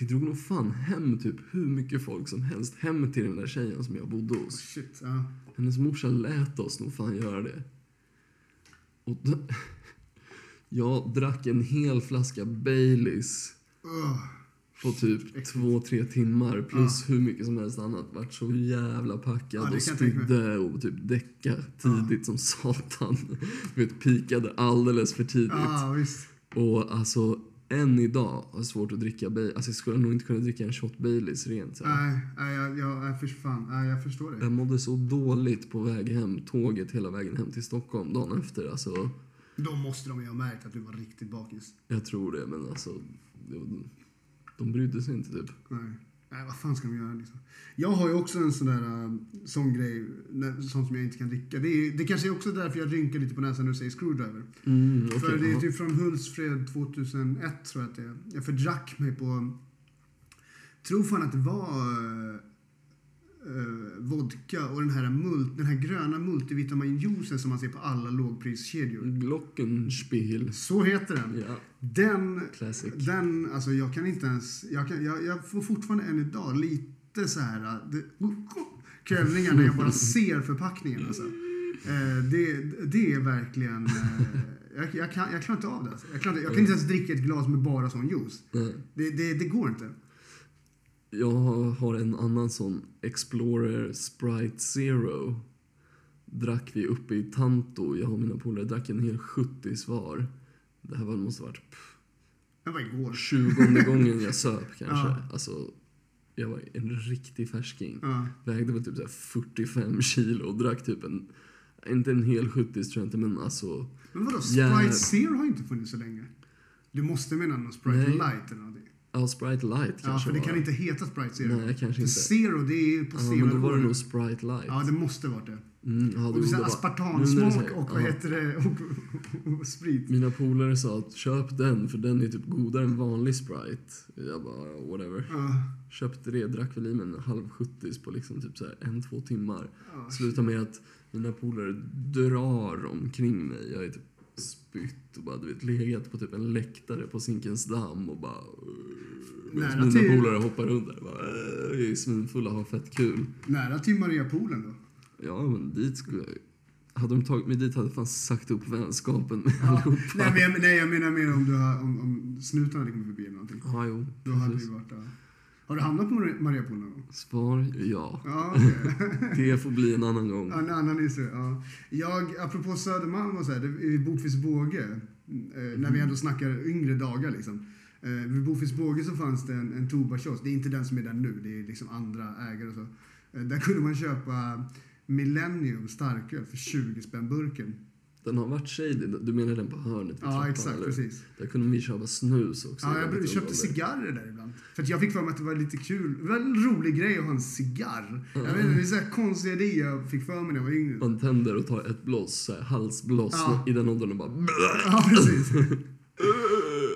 B: Vi drog nog fan hem typ hur mycket folk som helst hem till den där tjejen som jag bodde hos.
A: Shit, ja.
B: Hennes morsa lät oss nog fan göra det. Och då, jag drack en hel flaska Baileys
A: Ugh.
B: på typ två, tre timmar plus hur mycket som helst annat. Vart så jävla
A: Ja,
B: packad
A: det kan
B: och
A: jag tänka mig.
B: spydde och typ däckade tidigt som satan. Du vet, pikade alldeles för tidigt.
A: Ja, visst.
B: Och alltså, än idag har jag svårt att dricka Baileys. Alltså jag skulle nog inte kunna dricka en shot Baileys rent. så här.
A: Nej, nej, jag, jag, jag, för fan. Nej, jag förstår det.
B: Jag mådde så dåligt på väg hem, tåget hela vägen hem till Stockholm dagen efter. Alltså,
A: Då måste de ju ha märkt att du var riktigt bakis.
B: jag tror det, men alltså... det var- De brydde sig inte, typ.
A: Nej. Nej, vad fan ska de göra liksom? Jag har ju också en sån där äh, sån grej, när- sånt som jag inte kan dricka. Det, är, det kanske är också därför jag rynkar lite på näsan när du säger screwdriver.
B: Mm, okej,
A: För det är
B: ja.
A: typ från Hultsfred 2001 tror jag att det är. Jag fördrack mig på, tror fan att det var eh, eh, vodka och den här, mult, den här gröna multivitaminjuicen som man ser på alla lågpriskedjor.
B: Glockenspiel.
A: Så heter den.
B: Mm. Ja,
A: Den
B: classic.
A: den, alltså jag kan inte ens, jag, kan, jag, jag får fortfarande än idag lite så här äh, det, oh, kvällningar när jag bara ser förpackningen alltså. Eh, det, det är verkligen, eh, jag, jag, kan, jag klarar inte av det. Alltså. Jag, klarar inte, jag kan inte ens dricka ett glas med bara sån juice.
B: Nej.
A: Det, det, det går inte.
B: Jag har en annan sån, Explorer Sprite Zero. Drack vi uppe i Tanto, jag och mina polare drack en hel 70 var. Det här var, måste ha varit pff,
A: Det var igår.
B: 20 gången jag söp kanske.
A: Ja.
B: Alltså, jag var en riktig färsking.
A: Ja,
B: Vägde väl typ så här 45 kilo och drack typ en, inte en hel 70 tror jag inte men alltså.
A: Men vadå, Sprite
B: Jävlar.
A: Zero har inte funnits så länge. Du måste mena någon Sprite
B: Nej.
A: Light eller någonting.
B: Ja, Sprite Light
A: Ja,
B: kanske
A: för det
B: var.
A: kan inte heta Sprite Zero.
B: Nej, kanske
A: För
B: inte.
A: Zero, det är ju på
B: Ja, men då var det
A: zero
B: nog Sprite Light.
A: Ja, det måste varit det.
B: Mm, ja,
A: Och det
B: jo,
A: är så
B: det
A: här
B: var- nu när du
A: aspartamsmak
B: säger-
A: och
B: ja.
A: vad heter det? Och, och, och sprit.
B: Mina polare sa att köp den för den är typ godare än vanlig Sprite. Jag bara whatever.
A: Ja,
B: Köpte det, drack väl i mig en halv 70 på liksom typ så här en, två timmar.
A: ja.
B: Slutar med att mina polare drar omkring mig. Jag är typ s- spytt och bara du vet, legat på typ en läktare på Zinkensdamm och bara...
A: Nära
B: Mina
A: till-
B: polare hoppar runt där och bara... "Äh, Jag är svinfulla och har fett kul.
A: Nära till Mariapoolen då.
B: Ja, men dit skulle jag ju... Hade de tagit mig dit hade jag fan sagt upp vänskapen med allihopa.
A: Nej, men jag, nej, jag menar mer om, du har, om, om snuten hade kommit förbi eller någonting.
B: Ja, jo.
A: Då hade vi
B: precis.
A: varit där. Har du hamnat på Maria- Mariapoolen någon gång?
B: Svar ja.
A: Ja, okej.
B: Det får bli en annan gång.
A: Ja, En annan historia. Ja. Jag, apropå Södermalm och så här, det, i Bokvist båge, eh, när vi ändå snackar yngre dagar liksom. Eh, vid Bokvist båge så fanns det en, en tobakskiosk. Det är inte den som är där nu, det är liksom andra ägare och så. Eh, där kunde man köpa Millennium starköl för 20 spänn burken.
B: Den har varit shady. Du menar den på hörnet i
A: Ja, exakt,
B: eller?
A: precis.
B: Där kunde vi köpa snus också. liksom
A: Ja,
B: vet
A: jag
B: inte om
A: köpte
B: det-
A: cigarrer där ibland. För att jag fick för mig att det var lite kul. Det var en rolig grej att ha en cigarr. Jag vet inte, det är så här konstiga idéer jag fick för mig när jag var yngre.
B: Man tänder och tar ett blås, så här, halsblås,
A: Ja. Mm.
B: i den åldern och bara...
A: Ja, precis.
B: "Äh,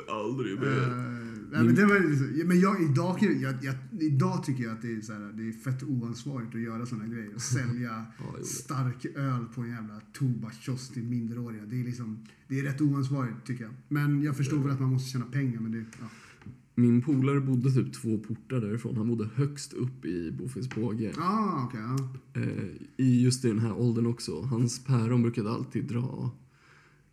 B: Aldrig
A: Eh,
B: mer.
A: nej, men det var ju liksom, men jag, idag, kan jag- jag, jag, idag tycker jag att det är, så här, det är fett oansvarigt att göra sådana grejer. Att sälja
B: jo, det.
A: stark öl på en jävla tobakskiosk till minderåriga. Det är, liksom, det är rätt oansvarigt tycker jag. Men jag förstår väl att man måste tjäna pengar. Men det, ja.
B: Min polare bodde typ två portar därifrån. Han bodde högst upp i Bofins båge.
A: Ah, okej. ja.
B: eh, i just i den här åldern också. Hans päron brukade alltid dra,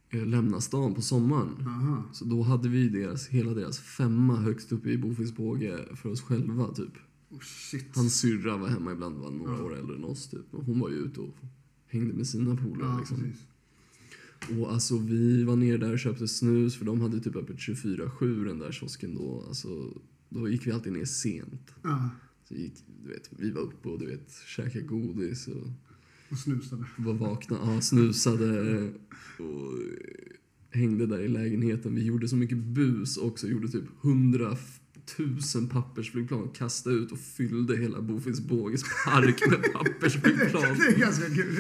B: eh, lämna stan på sommaren.
A: Aha.
B: Så då hade vi deras, hela deras femma högst upp i Bofins båge för oss själva typ.
A: Oh, shit.
B: Hans syrra var hemma ibland, var några år äldre än oss typ. Och hon var ju ute och hängde med sina polare
A: ja,
B: liksom.
A: precis.
B: Och alltså vi var nere där och köpte snus för de hade typ öppet 24-7 den där kiosken då. Alltså, då gick vi alltid ner sent.
A: Ja,
B: Så gick, du vet, vi var uppe och du vet, käkade godis och
A: och snusade.
B: var vakna, ja, snusade och hängde där i lägenheten. Vi gjorde så mycket bus också, gjorde typ hundratusen pappersflygplan, kastade ut och fyllde hela Bofins båges park med pappersflygplan.
A: Det är ganska kul.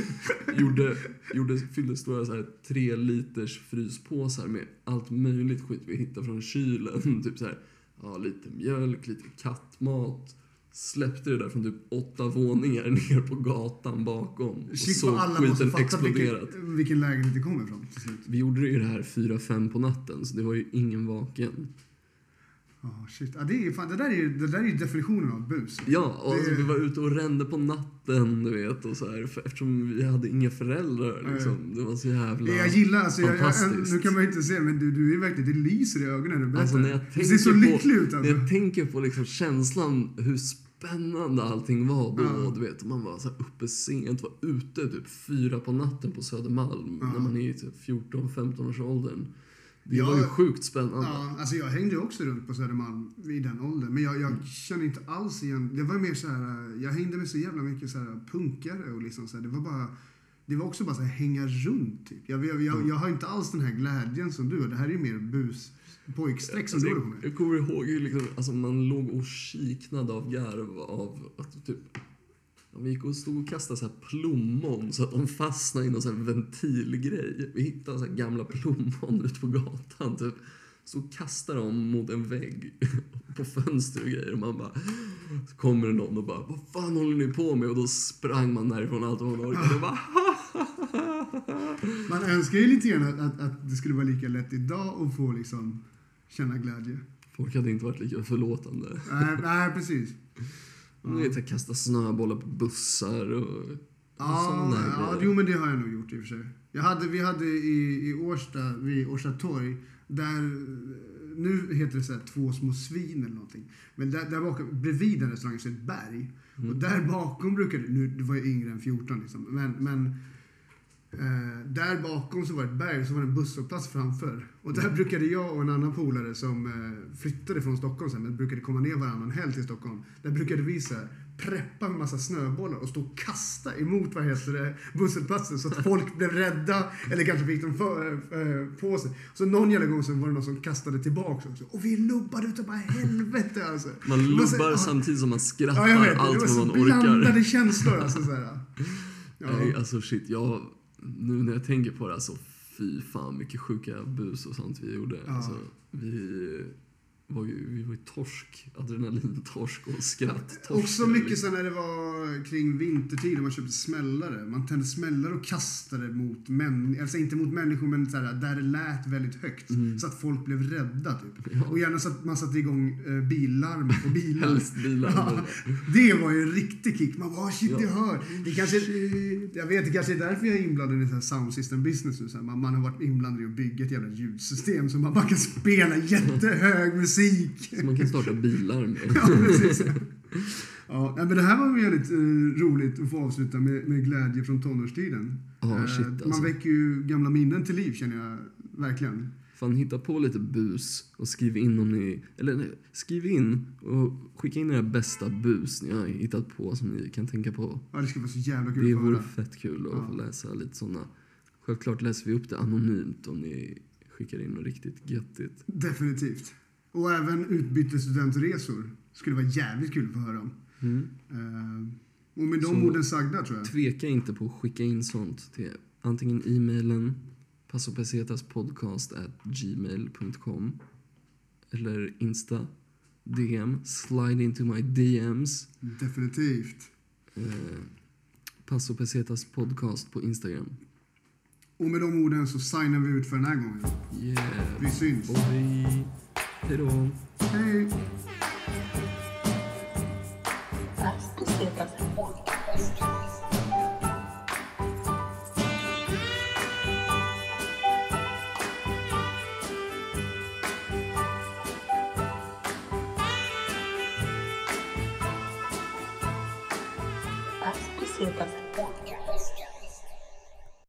B: Gjorde, gjorde, fyllde stora så här, tre liters fryspåsar med allt möjligt skit vi hittade från kylen. Typ så här, ja, lite mjölk, lite kattmat. Släppte det där från typ åtta våningar ner på gatan bakom. Och
A: Shit
B: såg
A: vad alla måste
B: skiten
A: fatta
B: exploderat.
A: vilken, vilken lägenhet det kommer ifrån till slut.
B: Vi gjorde ju det här fyra fem på natten, så det var ju ingen vaken.
A: Ah, shit. Ja, det, är, ju fan, det, där är, ju- det där är ju definitionen av bus.
B: Ja, och alltså,
A: Det-
B: vi var ute och rände på natten, du vet. Och så här, för, eftersom vi hade inga föräldrar. Liksom. Det var så jävla
A: Jag gillar, alltså, jag, jag,
B: fantastiskt.
A: nu kan man ju inte se men du, du är verkligen, det lyser i ögonen när du berättar.
B: Alltså när jag
A: du
B: tänker
A: ser så
B: på,
A: lycklig ut
B: När
A: alltså.
B: jag tänker på liksom känslan hur spännande allting var då. Du vet, man var så här uppe sent, var ute typ fyra på natten på Södermalm när man är i typ 14-15 års åldern. Det
A: Ja.
B: var ju sjukt spännande.
A: Ja, alltså jag hängde ju också runt på Södermalm i den åldern. Men jag, jag känner inte alls igen, det var mer så här, jag hängde med så jävla mycket så här punkare och liksom så här, det var bara, det var också bara så här hänga runt typ. Jag, jag,
B: Mm.
A: jag, jag har inte alls den här glädjen som du har. Det här är ju mer bus, pojkstreck som
B: Alltså,
A: du
B: jag,
A: håller på med.
B: jag kommer ihåg hur liksom, alltså man låg och kiknade av garv av att typ... De gick och stod och kastade så här plommon så att de fastnade i någon så här ventilgrej. Vi hittade så här gamla plommon ute på gatan. Typ. Så kastade de mot en vägg på fönster och grejer. Och man bara... Så kommer det någon och bara Vad fan håller ni på med? Och då sprang man därifrån allt vad man orkade. Och bara, "Ah,
A: Man önskar ju lite grann att, att, att det skulle vara lika lätt idag att få liksom känna glädje.
B: Folk hade inte varit lika förlåtande.
A: Nej, nej precis.
B: Du vet, jag kastade snöbollar på bussar och... och
A: Ja,
B: sådana här
A: ja
B: grejer.
A: jo, men det har jag nog gjort i och för sig. Jag hade, vi hade i, i Årsta, vid Årsta torg, där, nu heter det så här två små svin eller någonting. Men där, där bakom, bredvid den restaurangen så är ett berg. Och där bakom brukade, nu det var jag yngre än 14 liksom, men, men eh, där bakom så var det ett berg och så var det en busshållplats framför. Och
B: Mm.
A: där brukade jag och en annan polare som eh, flyttade från Stockholm sen, men brukade komma ner varannan helg till Stockholm. Där brukade vi så här, preppa med massa snöbollar och stå och kasta emot vad heter det, busshållplatsen så att folk blev rädda eller kanske fick dem för, eh, på sig. Så någon jävla gång så var det någon som kastade tillbaka också. Och vi lubbade utav bara helvete alltså.
B: Man
A: Det var så-
B: lubbar
A: ja,
B: samtidigt som man
A: Ja,
B: skrattar
A: jag vet.
B: allt
A: det var
B: vad
A: så
B: man orkar.
A: blandade känslor alltså. Så här. Ja.
B: Nej, alltså shit, jag... Nu när jag tänker på det, alltså fy fan vilket sjuka bus och sånt vi gjorde. Alltså, vi var ju, vi var ju torsk, adrenalintorsk och skratttorsk. Liksom.
A: Också mycket sen när det var kring vintertid och man köpte smällare. Man tände smällare och kastade mot människor, alltså inte mot människor men så här, där det lät väldigt högt. Så att folk blev rädda typ.
B: Mm. Ja.
A: Och gärna så att man satte igång eh, billarm på bilar.
B: Helst bilar.
A: Ja, det var ju en riktig kick. Man bara, "Ah, shit,
B: Ja.
A: jag hör. Det kanske, jag vet, det kanske är därför jag är inblandad i så här sound system business nu. Så här, man, man har varit inblandad i att bygga ett jävla ljudsystem så man bara kan spela jättehög musik.
B: Som man kan starta bilar med.
A: Ja, precis. Ja, nej, men det här var väldigt eh, roligt att få avsluta med, med glädje från tonårstiden.
B: Ja,
A: Eh,
B: shit,
A: Man
B: alltså.
A: väcker ju gamla minnen till liv känner jag verkligen.
B: Fan, hitta på lite bus och skriv in om ni... Eller nej, skriv in och skicka in era bästa bus ni har hittat på som ni kan tänka på.
A: Ja, det skulle vara så jävla kul
B: Det
A: att få
B: vore
A: höra.
B: fett kul att
A: Ja.
B: få läsa lite såna. Självklart läser vi upp det anonymt om ni skickar in något riktigt göttigt.
A: Definitivt. Och även utbyte studentresor skulle vara jävligt kul att få höra om. Eh, och med de
B: Mm. Så-
A: orden sagda tror jag.
B: Tveka inte på att skicka in sånt till antingen e-mailen passopesetaspodcast@gmail.com eller Insta DM, slide into my DMs.
A: Definitivt.
B: Eh, Paso Pesetas podcast på Instagram.
A: Och med de orden så signar vi ut för den här gången.
B: Yeah.
A: Vi syns.
B: Och vi... Hej då.
A: Hej!
E: As pesetas del podcast. As pesetas del podcast.